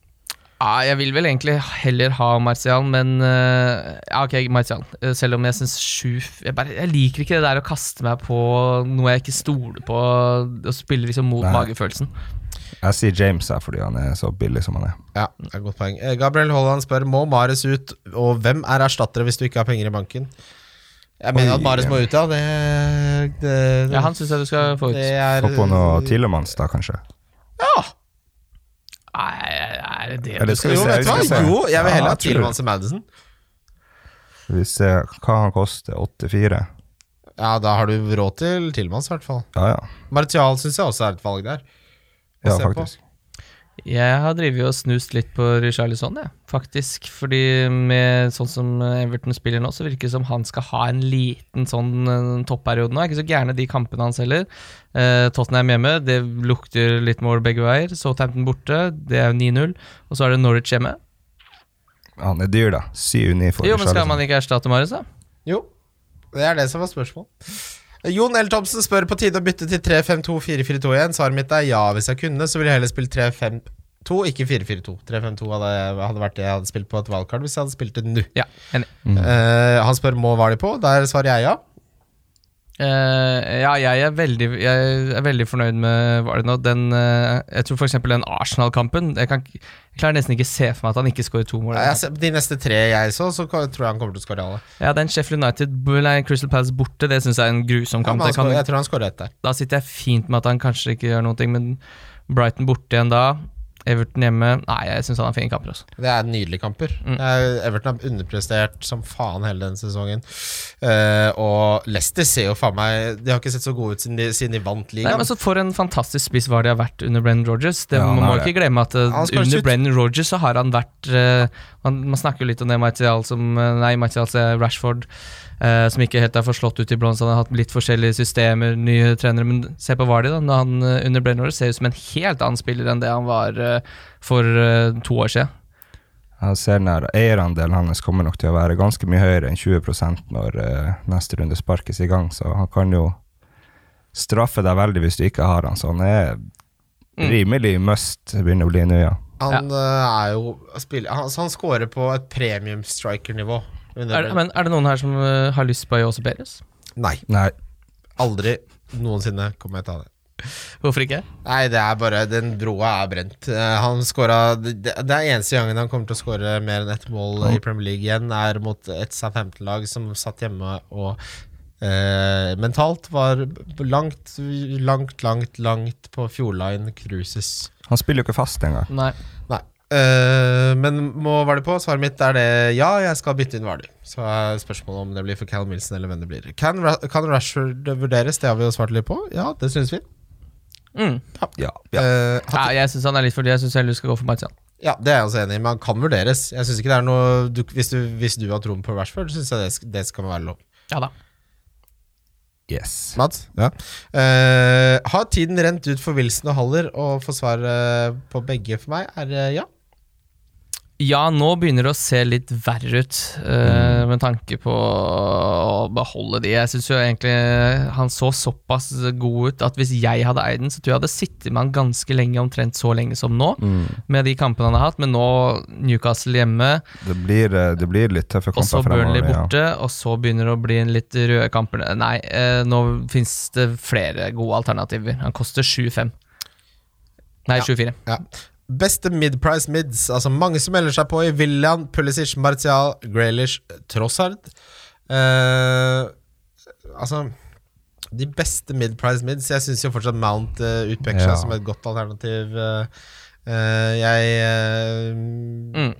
Ja, jeg vil vel egentlig heller ha Martial, men eh, Ja, ok, Martial. Eh, selv om jeg syns sju jeg, bare- jeg liker ikke det der å kaste meg på noe jeg ikke stoler på, og spille liksom mot
Nei.
magefølelsen.
Jeg sier James her fordi han er så billig som han er.
Ja, det er et godt poeng. Eh, Gabriel Haaland spør må Mares ut, og hvem er erstattere hvis du ikke har penger i banken? Jeg mener
Oi.
at Mares må ut, ja. Det, det,
Ja, han syns jeg du skal få ut.
det er
Nei,
Få på noe Tilemanns, da, kanskje.
er det det
Eller
du
skal
skal
vi
Jo,
se,
vet du hva?
skal se.
Jo, jeg vil
Ja,
heller ha
absolutt.
Tilman som Madison.
Skal vi se hva han koster. 8-4.
Ja, da har du råd til Tilmans, i hvert fall.
Ja, ja.
Martial syns jeg også er et valg der. Å
ja
se på.
faktisk.
Jeg har drevet og snust litt på Richarlison, jeg, faktisk. Fordi med sånn som Everton spiller nå, så virker det som han skal ha en liten sånn eh, topperiode nå. Jeg er ikke så gærne de kampene hans heller. Eh, Tottenham hjemme, det lukter litt mål begge veier. Southampton borte, det er jo 9-0. Og så er det Norwich hjemme.
Han er dyr, da. 7-9 for
Jo, men skal
Richarlison.
man ikke erstatte Marius, da?
Jo, det er det som var spørsmålet. Jon L. Thomsen spør på tide å bytte til 3-5-2-4-4-2-1. Svaret mitt er ja, hvis jeg kunne, så ville jeg heller spilt 3-5-2, ikke 4-4-2. 3-5-2 hadde, hadde vært det jeg hadde spilt på et valgkart hvis jeg hadde spilt det nå.
Ja, enig.
Eh, han spør må var de på, der svarer jeg ja.
Eh, ja, jeg er, veldig, jeg er veldig fornøyd med Var det nå den eh, Jeg tror f.eks. den Arsenal-kampen jeg, kan ikke- jeg klarer nesten ikke se for meg at han ikke skårer to mål. i den
Jeg, ser- de neste tre jeg så, så tror jeg han kommer til å skåre alle.
Ja, den Sheffield United nei, Crystal Palace borte, det syns jeg er en grusom
Ja,
kamp.
men han
Det kan,
skår- jeg tror han skårer ett der.
da sitter jeg fint med at han kanskje ikke gjør noen ting, men Brighton borte igjen da. Everton hjemme. Nei, jeg syns han har fine kamper altså. også.
Det er nydelige kamper.
Mm.
Eh, Everton har underprestert som faen hele denne sesongen. Eh, og Leicester ser jo faen meg De har ikke sett så gode ut siden de, siden de vant
Nei,
ligaen.
men så For en fantastisk spiss var det har vært under Brennan Rogers. Det,
Ja, han
man må
er det.
ikke glemme at eh,
Han skal
under
slutt-
Brennan Rogers så har han vært eh, man, man snakker jo litt om det Martial som eh, Nei, Martial sier Rashford, eh, som ikke helt er forslått ut i bronse. Han har hatt litt forskjellige systemer, nye trenere, men se på Vardy, da. Når han eh, under Brennan Rogers ser ut som en helt annen spiller enn det han var eh, for eh, to år siden.
Jeg ser den her Eierandelen hans kommer nok til å være ganske mye høyere enn 20 når eh, neste runde sparkes i gang, så han kan jo straffe deg veldig hvis du ikke har han. Så han er
Mm.
rimelig must, begynner å bli nå, ja.
han eh, er jo spiller, han, så han scorer på et premium striker-nivå. Under-
Er, det- men er det noen her som eh, har lyst på Ayose Perez?
Nei,
Nei,
aldri noensinne kommer jeg til å ha det.
Hvorfor ikke?
Nei, det er bare Den broa er brent. Eh, han scora det, det er eneste gangen han kommer til å skåre mer enn ett mål i Premier League igjen, er mot et Southampton-lag som satt hjemme og eh, mentalt var b- langt, langt, langt, langt på Fjordline Cruises.
han spiller jo ikke fast engang.
Nei.
Nei. Eh, men må Vardø på? Svaret mitt er det ja, jeg skal bytte inn Vardø. Så er spørsmålet om det blir for Cal Milson eller hvem det blir. Kan, Ra kan Rashford vurderes? Det har vi jo svart litt på. Ja, det syns vi.
Mm.
Ja, ja.
Eh,
Nei, jeg syns han er litt for dyr. Jeg syns heller du skal gå for Martial.
Ja, det er jeg også enig i, men han kan vurderes. Jeg synes ikke det er noe du, hvis, du, hvis du har troen på Rashford, syns jeg det, sk- det skal være lov.
Ja da.
Yes.
Mats? Ja. Eh, har tiden rent ut for Wilson og Haller, og for svaret på begge for meg er eh, ja.
Ja, nå begynner det å se litt verre ut eh, med tanke på å beholde de. Jeg syns jo egentlig han så såpass god ut at hvis jeg hadde eid den, så tror jeg jeg hadde sittet med han ganske lenge, omtrent så lenge som nå,
Mm.
Mm.
med de kampene han har hatt. Men nå Newcastle hjemme,
Det blir, eh, det blir litt tøffe
og så
kamper
Burnley
fremover. Ja.
borte, og så begynner det å bli en litt røde kamper. Nei, eh, nå fins det flere gode alternativer. Han koster 7-5. Nei, 7-4.
Ja. Beste mid-price mids. Altså mange som melder seg på i William, Pulisic, Martial, Graylish, Trossard. Eh, altså De beste mid-price mids. Jeg syns jo fortsatt Mount eh, utpeker
Ja.
seg som et godt alternativ. eh. Eh, jeg eh,
Mm.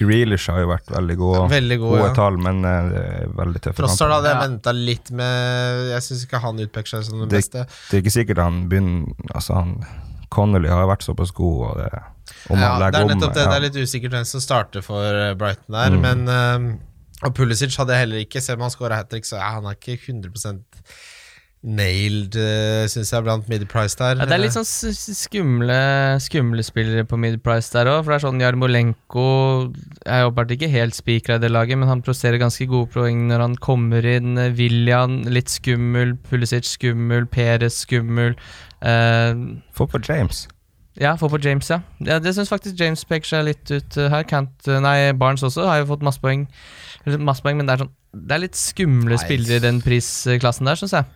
Grealish har jo vært veldig god.
Veldig god,
gode
ja.
tall, men eh, det er veldig tøffe
Trossard
kamper.
hadde jeg
Ja.
venta litt med. Jeg syns ikke han utpeker seg som den
Det-
beste.
Det er ikke sikkert han begynner altså han, Connolly har jo vært såpass god, og det, om
Ja,
han
det
legger
er
om
nettopp det.
ja. Mm.
Det er litt usikkert hvem som starter for eh, Brighton der, men eh, Og Pulisic hadde jeg heller ikke, selv om han skåra hat trick, så er han er ikke 100 nailed, syns jeg, blant mid-price der.
Ja, det er litt sånn s- s- skumle, skumle spillere på mid-price der òg. For det er sånn Jarmolenko er jo åpenbart ikke helt spikra i det laget, men han produserer ganske gode poeng når han kommer inn. Willian litt skummel, Pulisic skummel, Perez skummel. Eh,
Få på James.
ja, få på James, ja. ja det syns faktisk James peker seg litt ut eh, her. Kant, nei, Barnes også har jo fått masse poeng, eller masse poeng men det er, sånn, det er litt skumle
Nei.
spillere i den prisklassen der, syns jeg.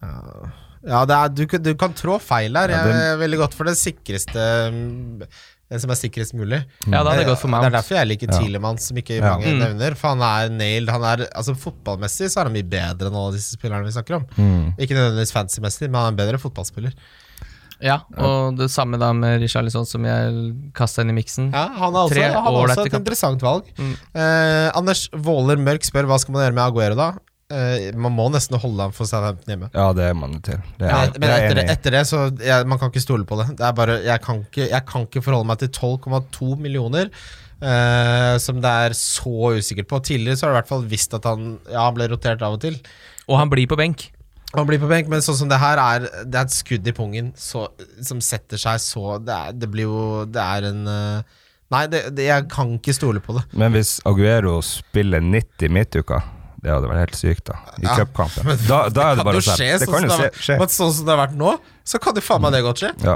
Ja, det er, du, kan- du kan trå feil her.
Ja, det-
Jeg er veldig godt for det sikreste mm, Den som er sikrest mulig. Eh,
Ja, da hadde det gått for
Det
Mount. Mm.
er derfor jeg liker Tielemann, som ikke
Ja.
mange nevner. For han er nailed. Han er, altså Fotballmessig så er han mye bedre enn alle disse spillerne vi snakker om. Ikke nødvendigvis fancy-messig, men han er en bedre fotballspiller.
Ja, og det samme da med Richarlison, som jeg kasta inn i miksen.
Ja, han er også,
Tre
han er
ålreite
også et
kamper. Mm.
interessant valg. Eh, Anders Våler Mørk spør hva skal man gjøre med Aguero da? Eh, man må nesten holde ham for Southampton hjemme.
Ja, det er man jo til. Det er,
men men
det er jeg
etter, det,
enig i.
etter det, så jeg, Man kan ikke stole på det. Det er bare, Jeg kan ikke, jeg kan ikke forholde meg til 12,2 millioner. eh, som det er så usikkert på. Tidligere så har du i hvert fall visst at han Ja, han ble rotert av og til.
Og han blir på benk.
Han blir på benk, men sånn som det her er Det er et skudd i pungen så, som setter seg så Det, er, det blir jo Det er en eh, Nei, det, det, jeg kan ikke stole på det.
Men hvis Aguero spiller 90 midtuka, det hadde vært helt sykt, da. I
Ja,
cupkampen. Da, da er det bare å
jo
se. Det
sånn
kan jo
som
se-
det har-
skje.
Men sånn som det har vært nå, så kan det faen meg det godt skje.
Ja.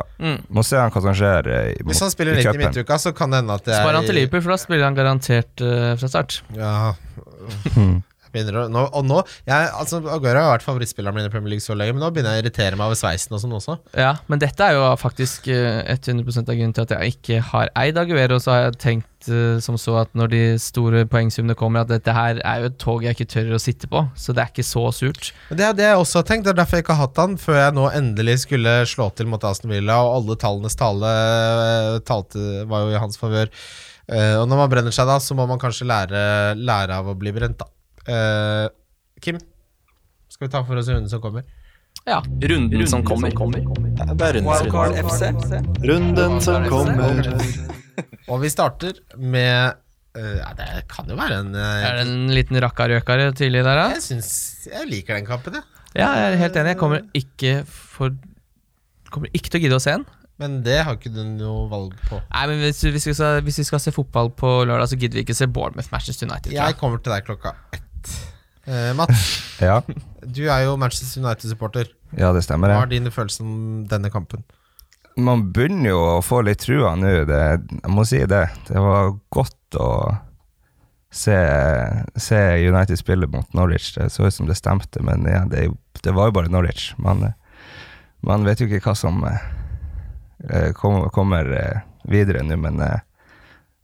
Må se han hva som skjer eh, i,
Mm. Hvis han
mot-
spiller
i
90 i
cupen.
midtuka, så kan det hende at det er
Sparer han til Liverpool, for da spiller han garantert eh, fra start.
Ja.
Mm.
Jeg Begynner å, nå, og nå jeg, altså, Aguero har vært favorittspilleren min i Premier League så lenge, men nå begynner jeg å irritere meg over sveisen og sånn også.
Ja, Men dette er jo faktisk eh, 100 av grunnen til at jeg ikke har eid Aguero. Så har jeg tenkt eh, som så at når de store poengsummene kommer, at dette her er jo et tog jeg ikke tør å sitte på. Så det er ikke så surt.
Men Det er det jeg også har tenkt, det er derfor jeg ikke har hatt han før jeg nå endelig skulle slå til mot Aston Villa, og alle tallenes tale eh, talte, var jo i hans favør. Eh, og når man brenner seg da, så må man kanskje lære, lære av å bli brent, da. Eh, Kim, skal vi ta for oss runden som kommer?
Ja. Runden, som kommer.
Runden som kommer.
Og vi starter med eh, ja, Det kan jo være en eh,
Er det en liten rakkarøkare tidlig der, da?
Jeg syns Jeg liker den kampen, jeg.
Ja, jeg er helt enig. Jeg kommer ikke for Kommer ikke til å gidde å se den.
Men det har ikke du noe valg på.
Nei, men hvis, hvis, vi skal, hvis vi skal se fotball på lørdag, så gidder vi ikke se Bournemouth Manchester United. tror
Jeg kommer til deg klokka ett. Eh, Mats,
Ja.
du er jo Manchester United-supporter.
ja, det stemmer,
Hva
det.
er dine følelser om denne kampen?
Man begynner jo å få litt trua nå, det, jeg må si det. Det var godt å se, se United spille mot Norwich. Det så ut som det stemte, men ja, det, er jo- det var jo bare Norwich. Man, eh, man vet jo ikke hva som eh, eh, kom, kommer eh, videre nå, men eh,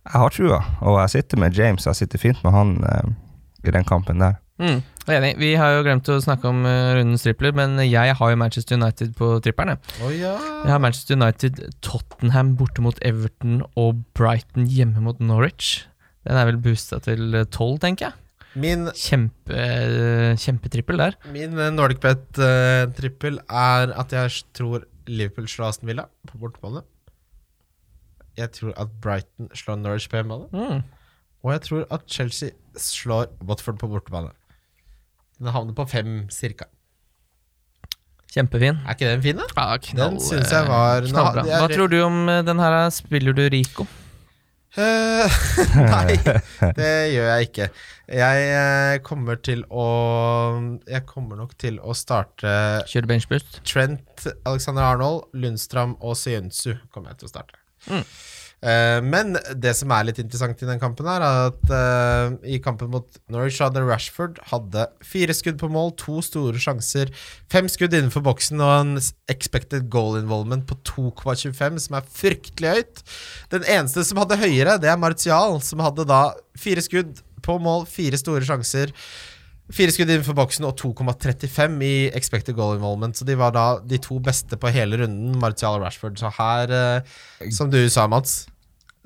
jeg har trua. Og jeg sitter med James, jeg sitter fint med han eh, i den kampen der.
jeg. Mm, jeg er enig. Vi har jo glemt å snakke om eh, rundens tripler, men jeg har jo Manchester United på tripperen. jeg.
Å ja.
Jeg har Manchester United, Tottenham borte mot Everton og Brighton hjemme mot Norwich. Den er vel boosta til eh, 12, tenker jeg.
Min,
Kjempe, eh, Kjempetrippel der.
min eh, Nordic Bet-trippel er at jeg tror Liverpool slår Aston Villa på bortebane. Jeg tror at Brighton slår Norwich på hjemmebane.
Mm.
Og jeg tror at Chelsea slår Watford på bortebane. Den havner på fem, cirka.
Kjempefin.
Er ikke den fin, da?
Ja, knall,
Den synes jeg var-
knallbra.
Nå- jeg-
Hva tror du om eh, den her? Spiller du eh, Rico?
Eh, nei, det gjør jeg ikke. Jeg eh, kommer til å Jeg kommer nok til å starte
Kjøre benchboost.
Trent, Alexander Arnold, Lundstram og Seyunsu kommer jeg til å starte. Eh, men det som er litt interessant i den kampen, her er at eh, i kampen mot Norwich hadde Rashford hadde fire skudd på mål, to store sjanser, fem skudd innenfor boksen og en expected goal involvement på 2,25, som er fryktelig høyt. Den eneste som hadde høyere, det er Martial, som hadde da fire skudd på mål, fire store sjanser. Fire skudd innenfor boksen og 2,35 i expected goal involvement. Så de var da de to beste på hele runden, Martial og Rashford. Så her, eh, som du sa, Mats,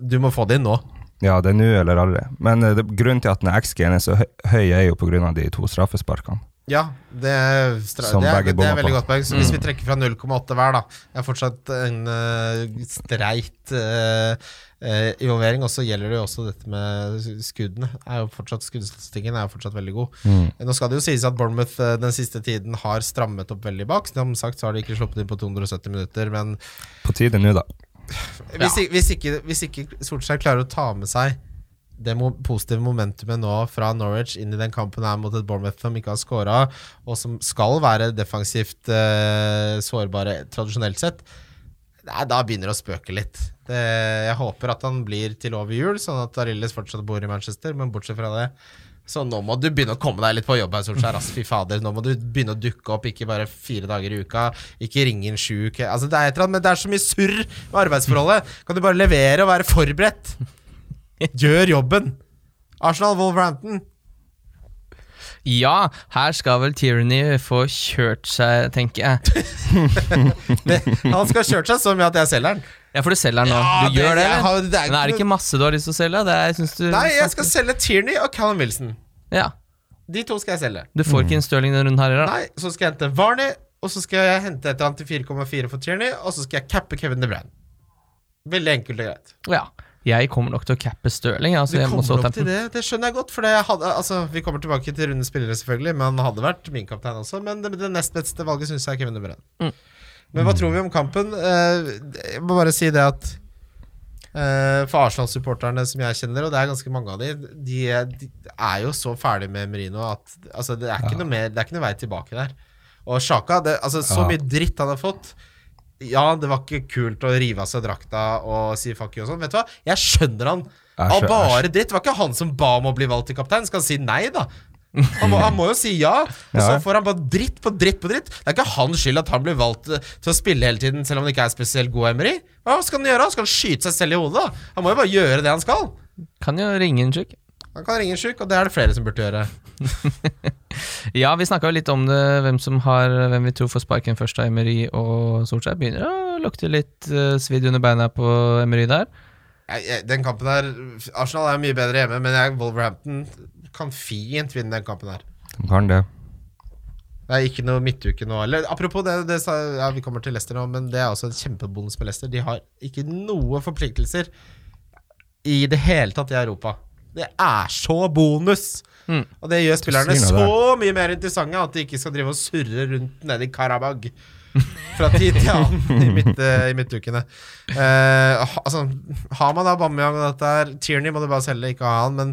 du må få det inn nå.
Ja, det er nå eller aldri. Men eh, det, grunnen til at den XG-en er så høy, høy er jo pga. de to straffesparkene.
Ja, det, er stra-
Som
det, er,
begge
det er
bomma på.
veldig
Mm.
godt poeng. Så hvis vi trekker fra 0,8 hver, da Det er fortsatt en eh, streit eh, eh, involvering. Og så gjelder det jo også dette med skuddene. Er jo fortsatt Skuddstatistikken er jo fortsatt veldig god.
Mm.
Nå skal det jo sies at Bournemouth eh, den siste tiden har strammet opp veldig bak. Som sagt så har de ikke sluppet inn på 270 minutter, men
På tide nå, da.
hvis, i- hvis ikke, hvis ikke Solskjær klarer å ta med seg det mo positive momentumet nå fra Norwich inn i den kampen her mot et Bournemouth som ikke har scora, og som skal være defensivt eh, sårbare tradisjonelt sett, nei, da begynner det å spøke litt. Det, jeg håper at han blir til over jul, sånn at Arilles fortsatt bor i Manchester, men bortsett fra det så nå må du begynne å komme deg litt på jobb her, Solskjær. ass, Fy fader. Nå må du begynne å dukke opp, ikke bare fire dager i uka. Ikke ringe inn sjuk. Altså, det er et eller annet, men det er så mye surr med arbeidsforholdet. Kan du bare levere og være forberedt? Gjør jobben! Arsenal Wolverhampton.
Ja, her skal vel Tyranny få kjørt seg, tenker jeg.
Det, han skal ha kjørt seg så mye at jeg selger den.
Ja, for du selger den nå.
Ja,
du
det-
gjør det,
jeg
eller?
har- det er
Men er det
ikke
ikke masse du har lyst til å selge? Det er, synes du,
Nei, jeg skal selge Tierney og Callum Wilson.
Ja,
De to skal jeg selge.
Du får ikke en Stirling denne runden her i dag.
Mm. Nei, så skal jeg hente Varney, og så skal jeg hente et eller annet til 4,4 for Tierney, og så skal jeg cappe Kevin De Bruyne. Veldig enkelt og greit.
Ja. Jeg kommer nok til å cappe Stirling.
Du
Altså, hjemme hos
kommer opp til
Southampton.
det, det skjønner jeg godt. For det hadde, altså, vi kommer tilbake til rundens spillere, selvfølgelig. Men han hadde vært min kaptein også. Men det, det nest beste valget syns jeg er Kevin De Bruyne.
Mm.
Men hva tror vi om kampen? Eh, jeg må bare si det at eh, for Arsenal-supporterne som jeg kjenner, og det er ganske mange av de, de, de er jo så ferdig med Merino at altså, det, er ikke noe mer, det er ikke noe vei tilbake der. Og Sjaka, det, altså, så
Ja.
mye dritt han har fått. Ja, det var ikke kult å rive av seg drakta og si fuck you og sånn. Vet du hva? Jeg skjønner han.
Jeg
Han
skjø-
bare dritt. Det var ikke han som ba om å bli valgt til kaptein. Skal han si nei, da? Han må, han må jo si ja, og så
Ja.
får han bare dritt på dritt på dritt. Det er ikke hans skyld at han blir valgt eh, til å spille hele tiden, selv om han ikke er spesielt god, Emery. Hva skal han gjøre? Skal han skyte seg selv i hodet? da? Han må jo bare gjøre det han skal.
Kan jo ringe en sjuk.
Han kan ringe en sjuk, og det er det flere som burde gjøre.
Ja, vi snakka jo litt om det, hvem som har Hvem vi tror får sparken først av Emery og Solskjær. Begynner å lukte litt eh, svidd under beina på Emery der.
Jeg, jeg, den kampen her Arsenal er mye bedre hjemme, men jeg, Wolverhampton kan fint vinne den kampen her.
De kan det.
Det er ikke noe midtuke nå. Eller, apropos det, det sa, ja, vi kommer til Leicester nå, men det er også en kjempebonus med Leicester. De har ikke noe forpliktelser i det hele tatt i Europa. Det er så bonus!
Mm.
Og det gjør spillerne
sier
så
noe
mye mer interessante at de ikke skal drive og surre rundt nede i Karabag fra tid til annen i, midt, eh, i midtukene. Eh, ha- altså, har man da Bamiyang og dette her Tierney må du bare selge, ikke ha han, men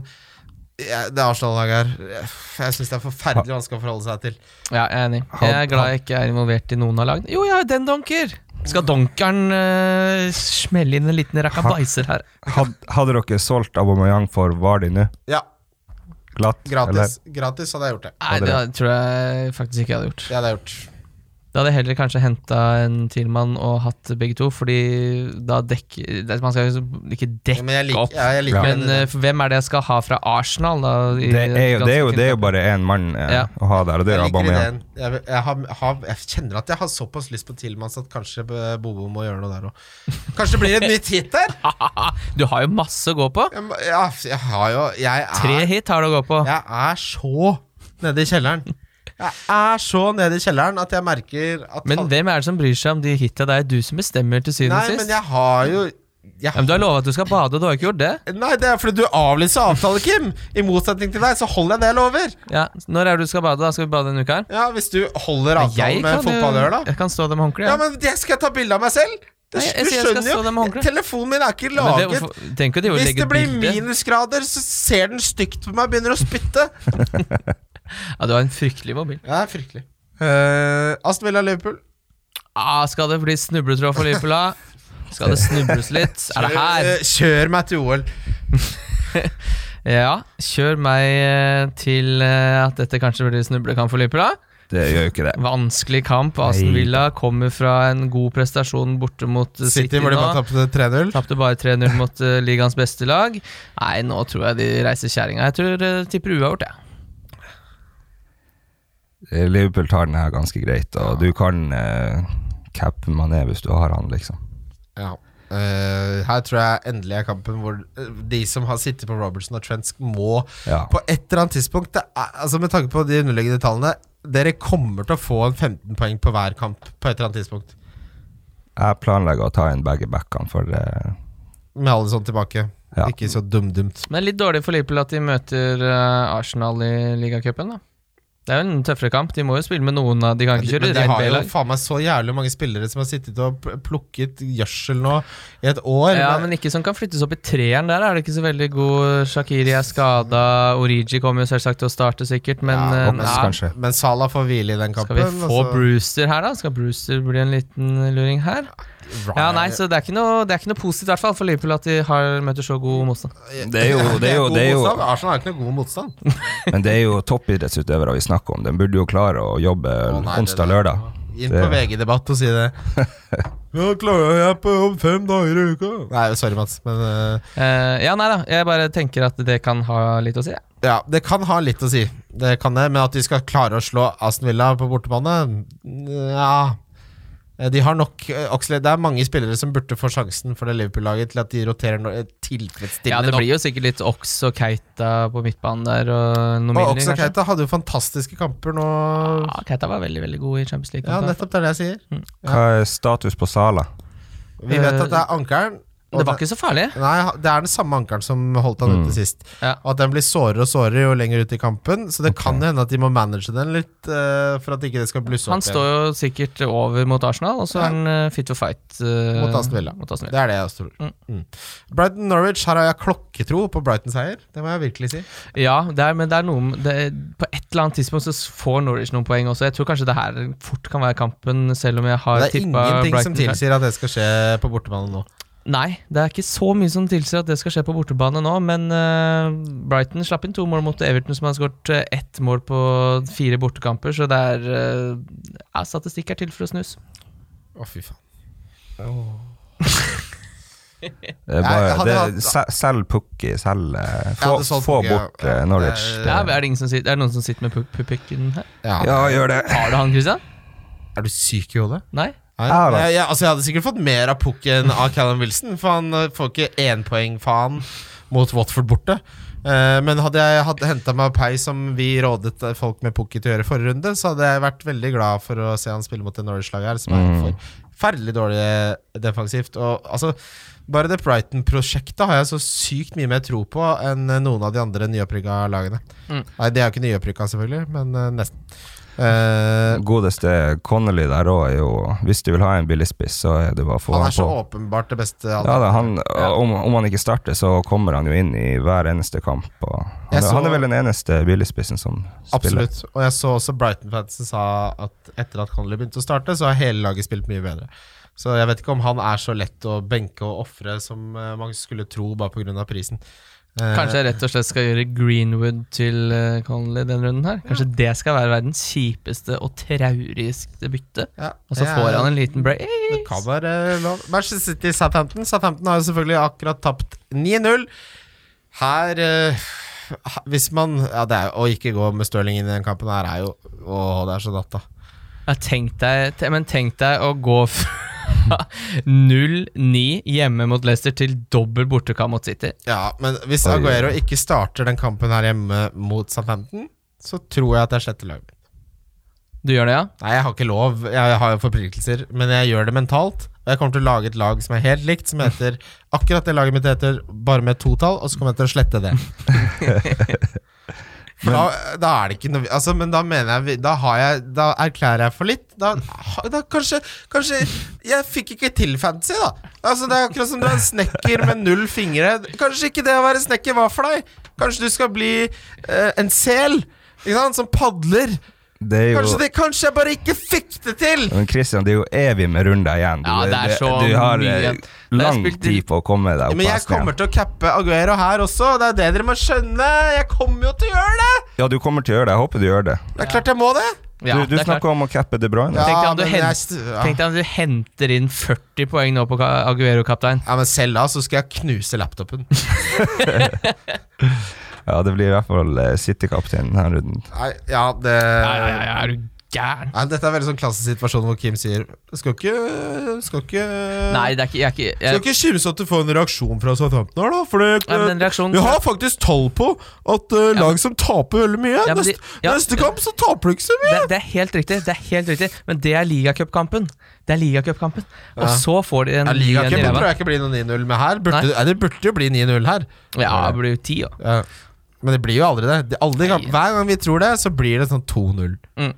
eh, det Arsenal-laget her eh, Jeg syns det er forferdelig vanskelig å forholde seg til.
Ja, jeg er enig.
Han-
Jeg er glad jeg ikke er involvert i noen av lagene. Jo, jeg har den donker! Skal donkeren eh, smelle inn en liten rakabaiser her?
Had, hadde dere solgt Aubameyang for Vardy nå?
Ja,
Glatt?
Gratis, gratis hadde jeg gjort det.
Nei, det tror jeg faktisk ikke jeg hadde gjort.
Det hadde jeg gjort.
Da hadde jeg heller kanskje henta en Thielmann og hatt begge to, fordi da dekker det- Man skal jo liksom ikke
Ja,
dekke
Men jeg
opp,
liker, ja, jeg liker
men
det.
eh, for hvem er det jeg skal ha fra Arsenal, da? i
Det er jo, det er jo,
ganske
det er jo
fin-
bare én mann eh,
Ja.
å ha der, og det er
Jeg liker
Aubameyang.
ideen. Jeg, vil- jeg, har, har, jeg kjenner at jeg har såpass lyst på Tilmans at kanskje eh, Bobo må gjøre noe der òg. Kanskje det blir et nytt hit der?
Du har jo masse å gå på!
Jeg, må- ja, jeg har jo Jeg
Tre
er,
hit har du å gå på.
jeg er så nede i kjelleren. Jeg er så nede i kjelleren at jeg merker at
Men hvem er det som bryr seg om de hita? Det er du som bestemmer til syvende
Nei,
og
men
sist.
jeg har jo jeg
Ja, men du har lova at du skal bade, og du har ikke gjort det.
Nei, det er fordi du avlyser avtale, Kim! I motsetning til deg, så holder jeg det jeg lover.
Ja, Når er det du skal bade? da? Skal vi bade denne uka? her?
Ja, Hvis du holder avtalen med
jo-
fotballøra.
jeg kan stå der med håndkle.
Ja,
Ja.
men det skal jeg ta bilde av meg selv! Det,
Nei, jeg
du
sier jeg skal
skjønner jo,
stå der med håndkle.
Telefonen min er ikke
Men det-
laget
hvorfor- Tenk at de
Hvis
legger
det blir
bilde.
minusgrader, så ser den stygt på meg og begynner å spytte.
Ja, du har en fryktelig mobil.
Ja, fryktelig. Uh, Aston Villa Liverpool.
Ah, skal det bli snubletråd for Liverpool, da? Skal det snubles litt? Er det her?
Eh, kjør meg til OL.
Ja, kjør meg eh, til eh, at dette kanskje blir snublekamp for Liverpool, da.
Det gjør jo ikke det.
Vanskelig kamp. Aston
Nei.
Villa kommer fra en god prestasjon borte mot eh,
City,
City
hvor de bare
nå.
tapte 3-0.
Tapte bare 3-0 mot eh, ligaens beste lag. Nei, nå tror jeg de reiser kjerringa. Jeg tror eh, tipper uavgjort, jeg.
Liverpool tar den her ganske greit, og du kan eh, cappe Mané hvis du har han, liksom.
Ja. Eh, her tror jeg endelig er kampen hvor eh, de som har sittet på Robertson og Trent, må
Ja.
på et eller annet tidspunkt det er, altså Med tanke på de underliggende tallene Dere kommer til å få en 15 poeng på hver kamp på et eller annet tidspunkt.
Jeg planlegger å ta inn begge backene, for eh,
Med alle sånn tilbake.
Ja.
Ikke så dumdumt.
Men litt dårlig for Liverpool at de møter eh, Arsenal i ligacupen, da. Det er jo en tøffere kamp. De må jo spille med noen av De kan ikke
Men
kjøre
de
reint
har jo
B-lag.
faen meg så jævlig mange spillere som har sittet og pl- plukket gjødsel nå i et år.
Ja, men ikke som kan flyttes opp i treeren. Der er det ikke så veldig god Shakiri er skada. Origi kommer jo selvsagt til å starte, sikkert, men
Ja,
eh,
Hobbs,
nei.
kanskje.
men Salah får hvile i den kampen. altså?
Skal vi få
og så-
Brewster her, da? Skal Brewster bli en liten luring her? Ja, nei, så Det er ikke noe, det er ikke noe positivt i hvert fall for Liverpool at de har møter så god motstand.
Det er jo, det er jo,
God
det er jo
motstand. Arsenal har ikke noe god motstand.
Men det er jo toppidrettsutøvere vi snakker om. Den burde jo klare å jobbe
Å, nei, det-
onsdag-lørdag.
Inn på
Det-
VG-debatt og si det. Nå klarer jeg på jobb fem dager i uka. Nei, sorry, Mats, men eh,
Eh, ja, nei da. Jeg bare tenker at det kan ha litt å si. Ja.
Ja, det kan ha litt å si. Det kan det, Men at de skal klare å slå Aston Villa på bortebane Ja De har nok Oxlade, Det er mange spillere som burde få sjansen for det Liverpool-laget til at de roterer no tilfredsstillende
Ja, Det
nok.
blir jo sikkert litt Ox og Keita på midtbanen der, og
Og
noe Milner,
Oxlade
kanskje.
Keita hadde jo fantastiske kamper nå.
Ja, Mm. Keita var veldig veldig god i Champions League.
Ja, nettopp. Det er det jeg sier.
Hva er status på Sala?
Vi vet at det er ankelen. og
Eh, Det var ikke så farlig.
Nei, det er den samme ankeren som holdt han ute sist.
Ja.
Og at den blir sårere og sårere jo lenger ut i kampen. Så det kan hende at de må manage den litt, eh, for at ikke det skal blusse opp.
Han
igjen.
står jo sikkert over mot Arsenal, og så
Ja.
er han eh, fit for fight. eh,
Mot Aston Villa.
mot Aston
Det er det jeg tror. Mm.
Mm.
Brighton Norwich, her har jeg klokketro på Brighton-seier. Det må jeg virkelig si.
Ja, det er, men det er noe med- det, På et eller annet tidspunkt så får Norwich noen poeng også. Jeg tror kanskje det her fort kan være kampen, selv om jeg har
Det er
tippa
ingenting
Brighton.
som tilsier at det skal skje på bortebane nå.
Nei, det er ikke så mye som tilsier at det skal skje på bortebane nå, men eh, Brighton slapp inn to mål mot Everton, som har skåret eh, ett mål på fire bortekamper, så det er eh, ja, Statistikk er til for å snus.
Å, fy faen.
Det er
Nei, jeg
Eh, bare,
hadde
det,
hatt-
se- selg Pukki, selg eh, Få,
hadde solgt
få
Pukki, ja.
bort eh, Norwich.
Det
Ja,
Det-
er, det ingen som sitter, er det noen som sitter med pu- pupikken her?
Ja.
Ja, gjør det.
Har du han, Christian?
Er du syk i hodet?
Nei?
Nei.
Ja, da.
jeg, jeg, altså, jeg hadde sikkert fått mer av pukken av Callum Wilson, for han eh, får ikke én poeng, faen, mot Watford borte. Eh, men hadde jeg henta meg Pei, som vi rådet eh, folk med pukki til å gjøre i forrige runde, så hadde jeg vært veldig glad for å se han spille mot det Norwich-laget her, som
Mm.
er forferdelig dårlig eh, defensivt. Og altså bare det Brighton-prosjektet har jeg så sykt mye mer tro på enn eh, noen av de andre nyopprykka lagene.
Mm.
Nei, de er jo ikke nyopprykka, selvfølgelig, men eh, nesten. Eh,
Godeste Connolly der òg er jo Hvis du vil ha en billig spiss, så er det bare å få
han
han
er så
på.
åpenbart det beste.
Ja, da, han,
Ja.
om, om han ikke starter, så kommer han jo inn i hver eneste kamp. Og han,
Jeg så-
han er vel den eneste billigspissen som spiller.
Absolutt. Og jeg så også Brighton-fansen sa at etter at Connolly begynte å starte, så har hele laget spilt mye bedre. Så jeg vet ikke om han er så lett å benke og ofre som eh, mange skulle tro, bare pga. prisen. Eh,
Kanskje jeg rett og slett skal gjøre Greenwood til eh, Conley den runden her? Kanskje det skal være verdens kjipeste og traurigste bytte?
ja,
Og så får han en liten break
Det kan være lov. Manchester City Southampton. Southampton har jo selvfølgelig akkurat tapt 9-0. Her eh, ha- Hvis man ja, det er, Å ikke gå med Stirling inn i den kampen her er jo Å, det er så natta.
Ja, tenk deg, te- men tenk deg å gå fra 0-9 hjemme mot Leicester til dobbel bortekamp mot City.
Ja, men hvis
Oi.
Aguero ikke starter den kampen her hjemme mot Southampton, så tror jeg at jeg sletter laget mitt.
Du gjør det, ja?
Nei, jeg har ikke lov. Jeg har jo forpliktelser, men jeg gjør det mentalt. Og jeg kommer til å lage et lag som er helt likt, som heter akkurat det laget mitt heter, bare med totall, og så kommer jeg til å slette det. For For da, da er det ikke noe altså, Men da mener jeg vi- Da, har jeg, da erklærer jeg for litt. Da, ha- da kanskje, kanskje Jeg fikk ikke til fantasy, da. Altså, det er akkurat som du er en snekker med null fingre. Kanskje ikke det å være snekker var for deg. Kanskje du skal bli eh, en sel ikke sant? som padler.
Det er jo
Kanskje, det, kanskje jeg bare ikke fikk det til!
men Christian, det er jo evig med runder igjen. Du,
Ja, det er
du-
så
du har
mye
eh,
igjen. Det er
lang
spilt-
tid på å komme deg opp
Men jeg
hesten igjen.
kommer til å cappe Aguero her også. Det er det dere må skjønne. Jeg kommer jo til å gjøre det!
Ja, du kommer til å gjøre det. Jeg håper du gjør det.
Det er klart jeg må det.
Ja,
du du
det er klart.
snakker om å cappe De Bruyne.
Ja.
Ja.
Tenk deg om du
men
hen-
jeg st- ja.
Tenk deg om du henter inn 40 poeng nå på Ka- Aguero, kaptein.
Ja, men selv da så skal jeg knuse laptopen.
det blir i hvert fall eh, City-kaptein denne runden.
Nei, ja, det
Nei, nei, nei, er du gæren?
Nei, Dette er veldig sånn klassisk situasjon hvor Kim sier Skal ikke Skal ikke
Nei, det er ikke Jeg, er ikke,
Skal
jeg,
ikke kimse at du får en reaksjon fra Southampton her, da. For det,
Nei, men den reaksjonen-
vi har faktisk tall på at eh, lag som taper veldig mye
Ja, men de-
neste,
ja.
neste kamp så taper du ikke så mye!
det, det er helt riktig, det er helt riktig men det er ligacupkampen. Det er ligacupkampen. Og
Ja.
så får de en
Ja,
en i
Ligacupen
ræva.
tror jeg ikke blir noe 9-0 med her. Burde,
Nei.
nei, det burde jo bli 9-0 her.
Ja, det blir jo ti, ja.
Ja. Men det blir jo aldri det. det aldri, kan- hver gang vi tror det, så blir det sånn 2-0.
Mm.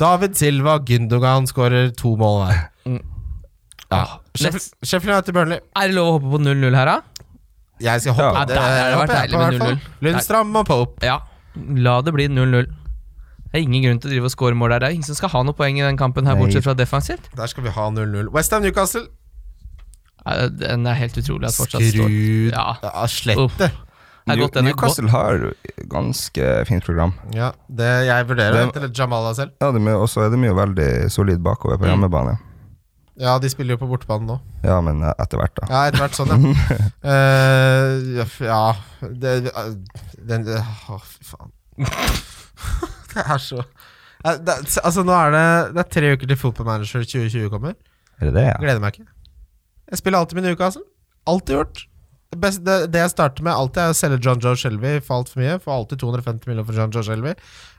David Silva, Gündogan skårer to mål hver.
Mm.
Ja.
Ah,
Sheffield Sheffield United Burnley.
Er det lov å hoppe på 0-0 her, da?
Jeg skal hoppe
Ja,
det,
der har
hopper
det vært
jeg på,
deilig med
i hvert fall.
0-0.
Lundstram og Pope.
Ja. La det bli 0-0. Det er ingen grunn til å drive og score mål der. Det er ingen som skal ha noe poeng i den kampen, her
Nei.
bortsett fra defensivt.
Der skal vi ha 0-0. Westham Newcastle.
Ja, Den er helt utrolig at fortsatt står.
Skrud
Ja.
ja, Slett
Uff.
det.
Det er
New-
godt, den er godt.
Newcastle har ganske fint program.
Ja, det jeg vurderer
Hvem-
det. Eller Jamala selv.
Ja, de er, også er de jo veldig solid bakover på hjemmebane.
Ja, de spiller jo på bortebane nå.
Ja, men eh, etter hvert, da.
Ja, etter hvert sånn, ja. Eh, ja det, eh, den, det, Å, fy faen. Det er så Eh, det, Altså, nå er det Det er tre uker til Football Manager 2020 kommer.
Er det det, ja?
Gleder meg ikke. Jeg spiller alltid min Newcastle. Alltid gjort. Det beste- det, det jeg starter med alltid, er å selge John Joe Shelby for altfor mye. Får alltid 250 millioner for John Joe Shelby.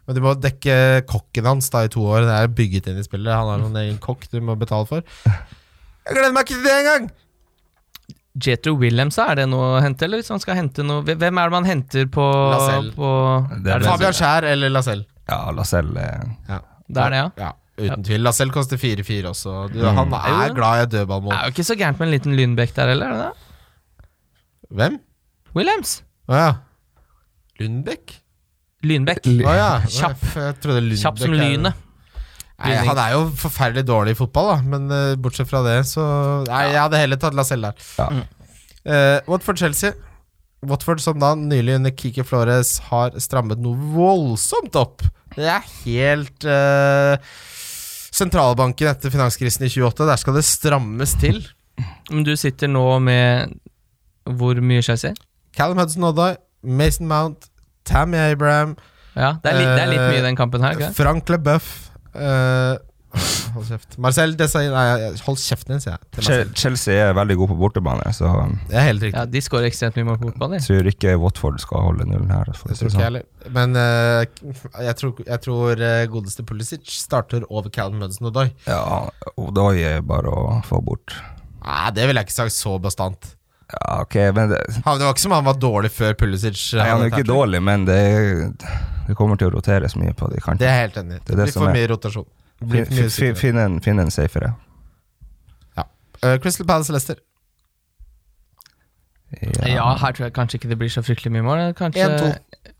Men du må dekke kokken hans da i to år. Det er bygget inn i spillet. Han har noen egen kokk du må betale for. Jeg gleder meg ikke til det engang!
Jetro Williams, er det noe å hente, eller hvis man skal hente noe Hvem er det man henter på,
Lascelles.
på
Det er
er det,
Fabian Skjær eller Lacelle.
Ja, Lacelle eh,
det er det, ja. Mm.
Ja, uten tvil. Lacelle koster 4-4 også. Du, Han
Er
er
det?
glad i et
Det
dødballmål.
er jo ikke så gærent med en liten Lynbekk der heller, er det det?
Hvem?
Williams?
Å ja. Lundbekk?
Lynbekk.
Å ja. Jeg
Kjapp.
f- Jeg trodde Lundbekk
Kjapp som
er-
lynet.
Nei, han er jo forferdelig dårlig i fotball, da. Men eh, bortsett fra det, så Nei, jeg hadde heller tatt Lacelle der. Mm.
Ja.
Eh, Watford Chelsea. Watford som da nylig under Kiki Flores har strammet noe voldsomt opp. Det er helt eh, Sentralbanken etter finanskrisen i 28, der skal det strammes til.
Men du sitter nå med hvor mye Chelsea?
Callum Hudson-Odoi, Mason Mount, Tammy Abraham,
Ja, det er, litt, det er litt mye i den kampen
Eh,
her. ikke det?
Frank LeBeuf eh, Hold kjeft. Marcel Desailly Nei, jeg- hold kjeften din, sier jeg. Til Marcel.
Che- Chelsea er veldig god på bortebane, så jeg
Det er helt riktig.
Ja, De skårer ekstremt mye mål på fotball. de.
tror ikke Watford skal holde nullen her. For å
Det
si det
tror ikke jeg
sånn.
heller. Men eh, jeg tror, jeg tror eh, godeste Pulisic starter over Callum Hudson-Odoi.
Ja, Odoi er bare å få bort.
Nei, Ah, det ville jeg ikke sagt så bastant.
Ja, ok, men det,
Han, det var ikke som han var dårlig før Pulisic. eh,
Nei, han er jo
hadde
ikke
tatt-
dårlig, men det, det kommer til å roteres mye på de
Det
kantene.
er jeg helt enig i.
er
Det,
det
blir
som
for
er-
mye rotasjon. Det blir for
Fin-
mye
fin-
usikkerhet.
Finn en, finn en safere.
Ja. Eh, Crystal Palace Leicester.
Ja, her tror jeg kanskje ikke det blir så fryktelig mye mål. Kanskje
1-2.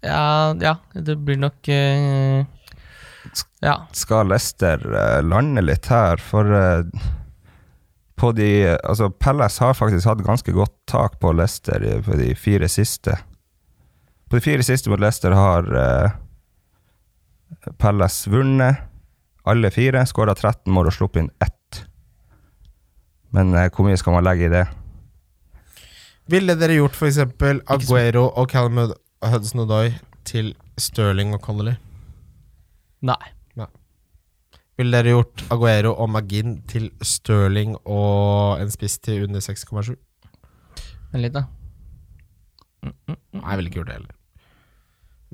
Ja, ja, det blir nok eh, Ja.
Skal Leicester eh, lande litt her, for eh, på de Altså, Palace har faktisk hatt ganske godt tak på Leicester i- på de fire siste. På de fire siste mot Leicester har eh, Palace vunnet alle fire, skåra 13 mål og sluppet inn ett. Men eh, hvor mye skal man legge i det?
Ville dere gjort f.eks. Aguero og Callum Hud- Hudson-Odoi til Sterling og Connolly?
Nei.
Ville dere gjort Aguero og Magin til Sterling og en spiss til under 6,7?
Vent litt, da.
Nei, jeg ville ikke gjort det heller.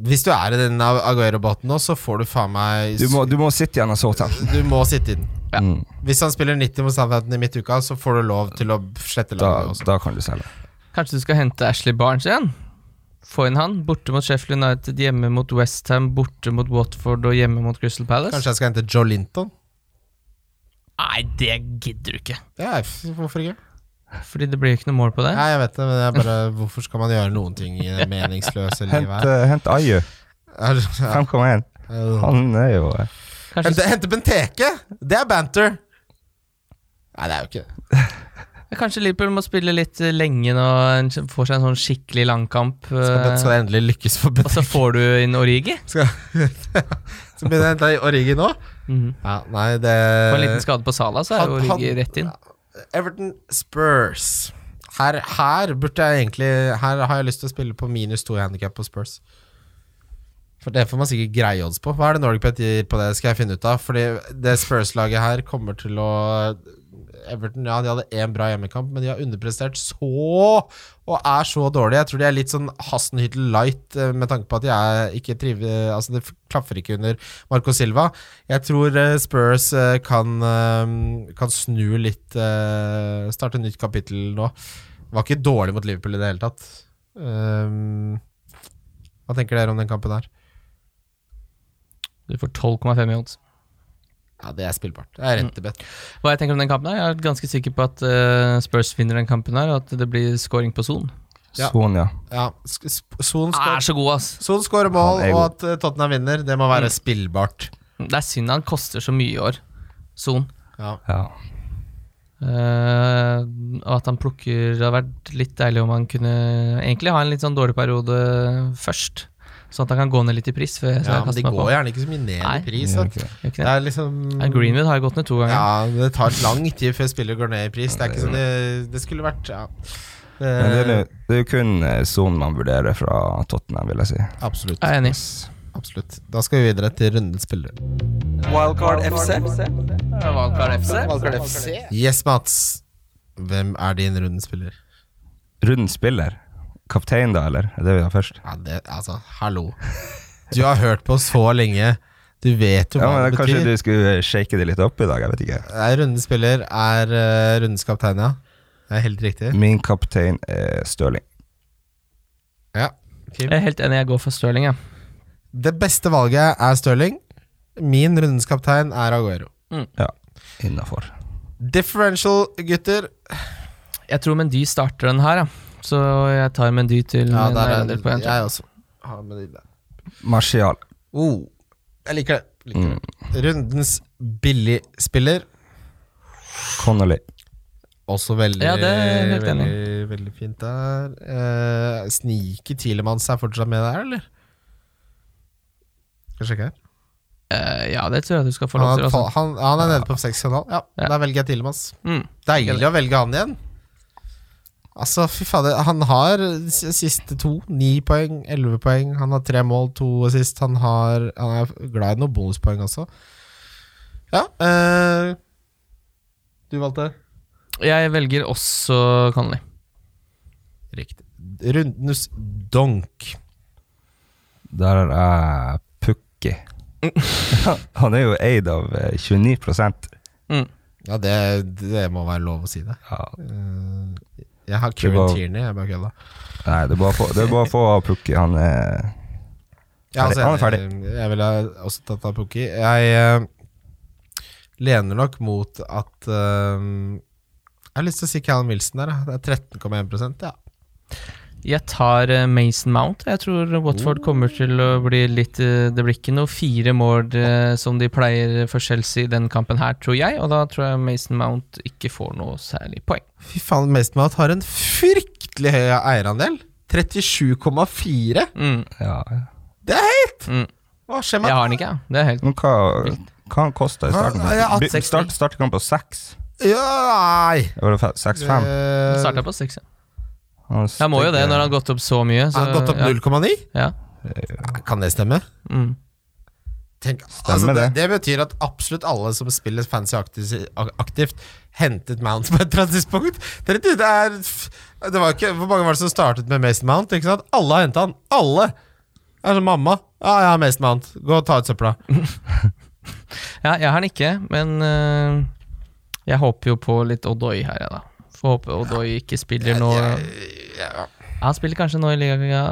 Hvis du er i den Aguero-båten nå, så får du faen meg
Du må, du må sitte igjen og så til.
du må sitte i den.
Ja.
Mm.
Hvis han spiller 90 mot Southampton i midtuka, så får du lov til å slette
Da,
laget også.
da kan du selge.
Kanskje du skal hente Ashley Barnes igjen? få inn han. Borte mot Sheffield United, hjemme mot Westham, borte mot Watford og hjemme mot Crystal Palace.
Kanskje jeg skal hente Joe Linton?
Nei, det gidder du ikke.
Ja, f- hvorfor ikke?
Fordi det blir jo ikke noe mål på det.
Nei, jeg vet det, men jeg bare, hvorfor skal man gjøre noen ting i det meningsløse
Hent,
livet her?
uh, hent Ayu.
Er- er-
5,1.
er-
Han er jo eh,
Kanskje,
Hente, hente Benteke! Det er banter! Nei, det er jo ikke det.
kanskje Liverpool må spille litt eh, lenge nå, en- får seg en sånn skikkelig langkamp.
Skal,
eh,
skal det endelig lykkes for
Og så
Benteke?
får du inn Origi.
Skal, så begynner jeg å hente Origi nå?
Mhm.
Ja, nei, det
På en liten skade på Sala, så er
Han-
jo Origi
han-
rett inn.
Everton Spurs. Her, her burde jeg egentlig Her har jeg lyst til å spille på minus to handikap på Spurs. For det får man sikkert greie odds på. Hva er det Norgepet gir på det, skal jeg finne ut av. Fordi det Spurs-laget her kommer til å Everton ja, de hadde én bra hjemmekamp, men de har underprestert så og er så dårlige. Jeg tror de er litt sånn Hassenhyttel light eh, med tanke på at de er ikke trive, altså det f- klaffer ikke under Marco Silva. Jeg tror eh, Spurs eh, kan, eh, kan snu litt eh, Starte nytt kapittel nå. Var ikke dårlig mot Liverpool i det hele tatt. Um, hva tenker dere om den kampen her?
Du får 12,5 i odds.
Ja, Det er spillbart. Det er rentebett.
Hva jeg tenker om den kampen her? Jeg er ganske sikker på at eh, Spurs vinner den kampen her, og at det blir scoring på Son.
Ja.
Son, ja.
Ja, sk- sp- Son
Er
skår-
så god, ass!
Son skårer mål,
Han er
og
god.
at eh, Tottenham vinner, det må
Mm.
være spillbart.
Det er synd han koster så mye i år, Son.
Ja.
ja.
Eh, og at han plukker Det hadde vært litt deilig om han kunne egentlig ha en litt sånn dårlig periode først. Sånn at han kan gå ned litt i pris før jeg
Ja,
skal
men
kaste
De
meg på.
går gjerne ikke så mye ned
Nei.
i pris.
Ja,
da.
ok.
Gjør ikke
Det
det?
er liksom
Ja, Greenwood har jo gått ned to ganger.
Ja, men Det tar lang tid før spiller går ned i pris. Det er ikke som det, det skulle vært. Ja.
Men det er,
Eh,
jo- det er jo kun eh, Son man vurderer fra Tottenham, vil jeg si.
absolutt.
Jeg er enig.
Absolutt. Da skal vi videre til rundens spillere.
Wildcard FC. Wildcard FC.
Yes, Mats. Hvem er din rundens spiller?
Rundens spiller. Kaptein, da, eller? Er det vi har først?
Ja, det, altså, hallo. Du har hørt på så lenge. Du vet jo
Ja,
hva
men
det
Kanskje
betyr.
du skulle shake det litt opp i dag? Jeg vet ikke.
Nei, Rundens spiller er uh, rundens kaptein, ja. Det er helt riktig.
Min kaptein er Stirling.
Ja. Kim?
Jeg er helt enig, jeg går for Stirling, jeg.
Det beste valget er Stirling. Min rundens kaptein er Aguero.
Ja, innafor.
Differential, gutter.
Jeg tror Mendy starter den her, ja. Så jeg tar Mendy til
Ja,
en
der er
eiendel på en, tror jeg.
jeg også. Ha med de der.
Martial.
Oh, jeg liker det. Liker
Mm.
det. Rundens billigspiller.
Connolly.
Også veldig,
Ja, det er jeg helt enig
veldig, veldig fint der. Eh, Sniker Tilemann seg fortsatt med der, eller? Skal jeg sjekke her.
Eh, ja, det tror jeg du skal få lov
Han,
til. altså.
er
Også.
fa- han, han er nede på 6,5. Ja,
Ja.
da velger jeg Tilemanns.
Mm.
Deilig å velge han igjen. Altså, fy fader. Han har s- siste to. Ni poeng, elleve poeng. Han har tre mål, to assist. Han, har, han er glad i noen bonuspoeng også. Ja. eh, du valgte?
Jeg velger også Connolly.
Riktig. Rundens donk.
Der er jeg Pukki. Han er jo eid av eh, 29
Ja, det, det må være lov å si det.
ja.
Eh, jeg har
Det
Kevin
var-
Tierney, jeg bare kødda.
Nei, det er bare å få- det er bare å få av Pukki. Han er
Ja, altså,
Han er ferdig.
Jeg, jeg ville også tatt av Pukki. Jeg eh, lener nok mot at eh, Jeg har lyst til å si Callum Wilson der. ja. Det er 13,1 ja.
Jeg tar eh, Mason Mount. Jeg tror Watford kommer til å bli litt eh, Det blir ikke noe fire mål eh, som de pleier for Chelsea i den kampen her, tror jeg. Og da tror jeg Mason Mount ikke får noe særlig poeng.
Fy faen, Mason-Mount har en fryktelig høy eierandel. 37,4!
Mm.
Ja. ja.
Det er høyt!
Mm.
Hva skjer
Jeg
med
har den ikke, jeg. Det er helt
Men hva, hva han kosta i starten?
Ja, ja, at
Be-
seks-
Start, startet han på seks?
Ja, nei!
Var det fe- seks-fem?
Den
Eh,
starta på seks, ja.
Han
Jeg må jo det, når han har gått opp så mye. Så,
har eh, han gått opp 0,9?
Ja.
Eh, Kan det stemme?
ja. Mm.
Tenk, altså, det.
det.
det betyr at absolutt alle som spiller fancy aktivt, aktivt hentet Mount på et eller annet tidspunkt. Det, er, det, er, f- det var ikke, hvor mange var det som startet med Mason Mount? Ikke sant? Alle har henta han. Alle! Det er som mamma. Ja, jeg har Mason Mount. Gå og ta ut søpla.
Ja, jeg har den ikke, men øh, jeg håper jo på litt Odoi her, jeg, da. Får håpe Odoi ikke spiller nå.
Ja.
Han spiller kanskje nå i ligaen. Ja,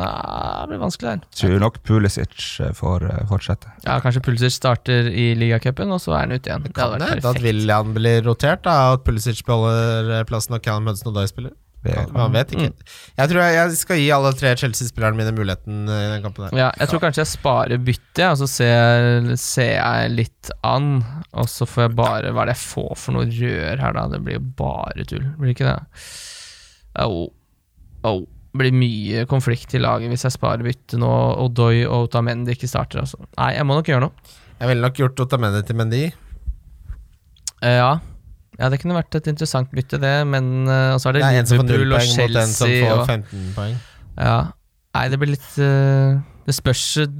det blir vanskelig der.
Tror nok Pulisic eh, får eh, fortsette.
Ja, Kanskje Pulser starter i ligacupen, og så er han ute igjen. Det
Kan
hadde
det
vært
hende at
perfekt.
William blir rotert, da, og at Pulisic beholder eh, plassen og Callum Hudson og Doy spiller?
Det,
Men Man vet ikke.
Mm.
Jeg tror jeg, jeg skal gi alle tre Chelsea-spillerne mine muligheten eh, i den kampen. her
Ja, jeg tror kanskje jeg sparer byttet, og så ser, ser jeg litt an. Og så får jeg bare Hva er det jeg får for noe rør her, da? Det blir jo bare tull, blir det ikke det? Au. Au. Det blir mye konflikt i laget hvis jeg sparer byttet nå, og Doy og Otamendi ikke starter, altså. Nei, jeg må nok gjøre noe.
Jeg ville nok gjort Otamendi til Mendy.
Eh, ja. ja, det kunne vært et interessant bytte, det, men eh, Og så er
Det
det,
er en som får null
Liverpool og
poeng mot en som
Chelsea
får
og
15 poeng.
Ja. Nei, det blir litt eh, Det spørs eh,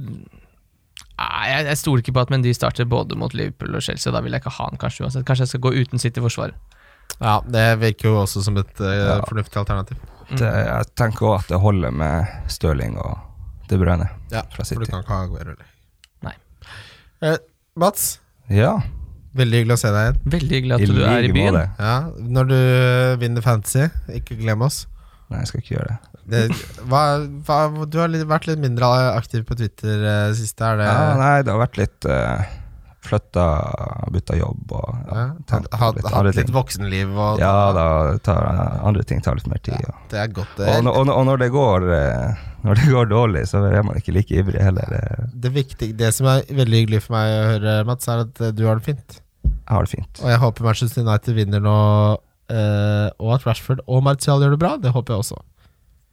Nei, jeg, jeg stoler ikke på at Mendy starter både mot Liverpool og Chelsea. og Da vil jeg ikke ha han kanskje uansett. Kanskje jeg skal gå uten sitt i forsvaret.
Ja, det virker jo også som et eh,
Ja.
fornuftig alternativ.
det, eh, jeg tenker òg at det holder med Stirling og De Bruyne
Ja,
fra
For du
City.
kan ikke ha Aguero, eller?
Nei.
Eh, Mats,
Ja,
veldig hyggelig å se deg igjen.
Veldig hyggelig
i
at du er i
like
byen.
måte.
Ja, Når du vinner fantasy, ikke glem oss.
Nei, jeg skal ikke gjøre det.
Det, hva, hva, du har litt, vært litt mindre aktiv på Twitter eh, siste, er det
Ja, nei, det har vært litt uh, Flytta, bytta jobb og ja,
ja,
tenkt
hatt,
på
hatt,
litt andre
hatt litt
ting.
voksenliv og
Ja, da tar andre ting tar litt mer tid. Ja.
Det er godt.
Og,
Det,
når- og, når- og når, det går, eh, når det går dårlig, så er man ikke like ivrig heller. eh.
det, viktig, det som er veldig hyggelig for meg å høre, Mats, er at eh, du har det fint.
Jeg har det fint.
Og jeg håper Manchester United vinner nå, eh, og at Rashford og Martial gjør det bra. Det håper jeg også.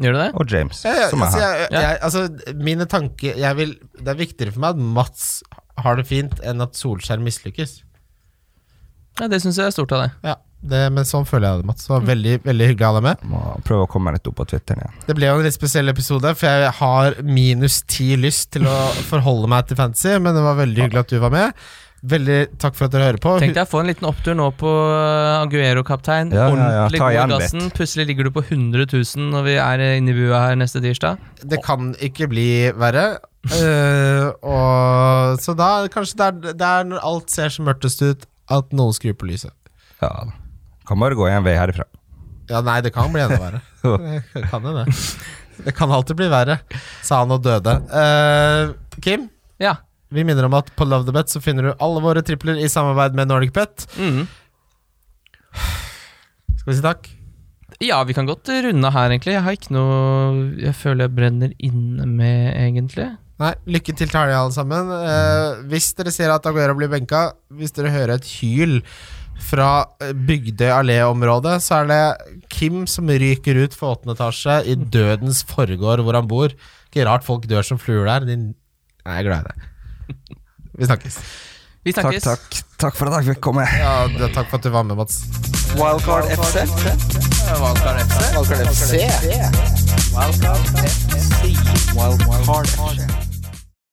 Gjør du det?
Og James,
Ja, ja,
som er
altså,
her.
jeg,
Ja.
jeg, altså, mine tanker jeg vil, Det er viktigere for meg at Mats har det fint, enn at Solskjær mislykkes.
Ja, det syns jeg er stort av deg.
Ja, det, men sånn føler jeg det, Mats. Så veldig, veldig hyggelig å ha deg med.
Må prøve å komme meg litt opp på Twitteren igjen.
Det ble jo en litt spesiell episode, for jeg har minus ti lyst til å forholde meg til fantasy, men det var veldig hyggelig at du var med. Veldig takk for at dere hører på.
Tenk deg å få en liten opptur nå på eh, Aguero-kaptein.
Ja, ja, ja,
Ordentlig
ta
god i
igjen
gassen. Plutselig ligger du på 100 000 når vi er eh, inne i bua her neste tirsdag.
Det kan ikke bli verre. Eh, og, så da kanskje det er, det er når alt ser så mørkest ut, at noen skrur på lyset.
Ja, da. kan bare gå en vei herifra.
Ja, nei, det kan bli enda verre. Det kan jo det. Det kan alltid bli verre, sa han og døde. Eh, Kim,
Ja.
vi minner om at på Love the Bet så finner du alle våre tripler i samarbeid med Nordic Bet.
Mm.
Skal vi si takk?
Ja, vi kan godt eh, runde av her, egentlig. Jeg har ikke noe jeg føler jeg brenner inne med, egentlig.
Nei, lykke til til helga, alle sammen. Eh, hvis dere ser at Aguero blir benka, hvis dere hører et hyl fra eh, Bygdøy allé-området, så er det Kim som ryker ut for åttende etasje i dødens forgård hvor han bor. Ikke rart folk dør som fluer der. Din... Nei, jeg er glad i deg. Vi snakkes.
Vi
Takk,
snakkes.
takk. Takk for at jeg fikk komme.
Ja, det, takk for at du var med, Mats.
Wildcard FC. Wildcard FC. Wildcard FC. Wildcard FC. Wildcard FC.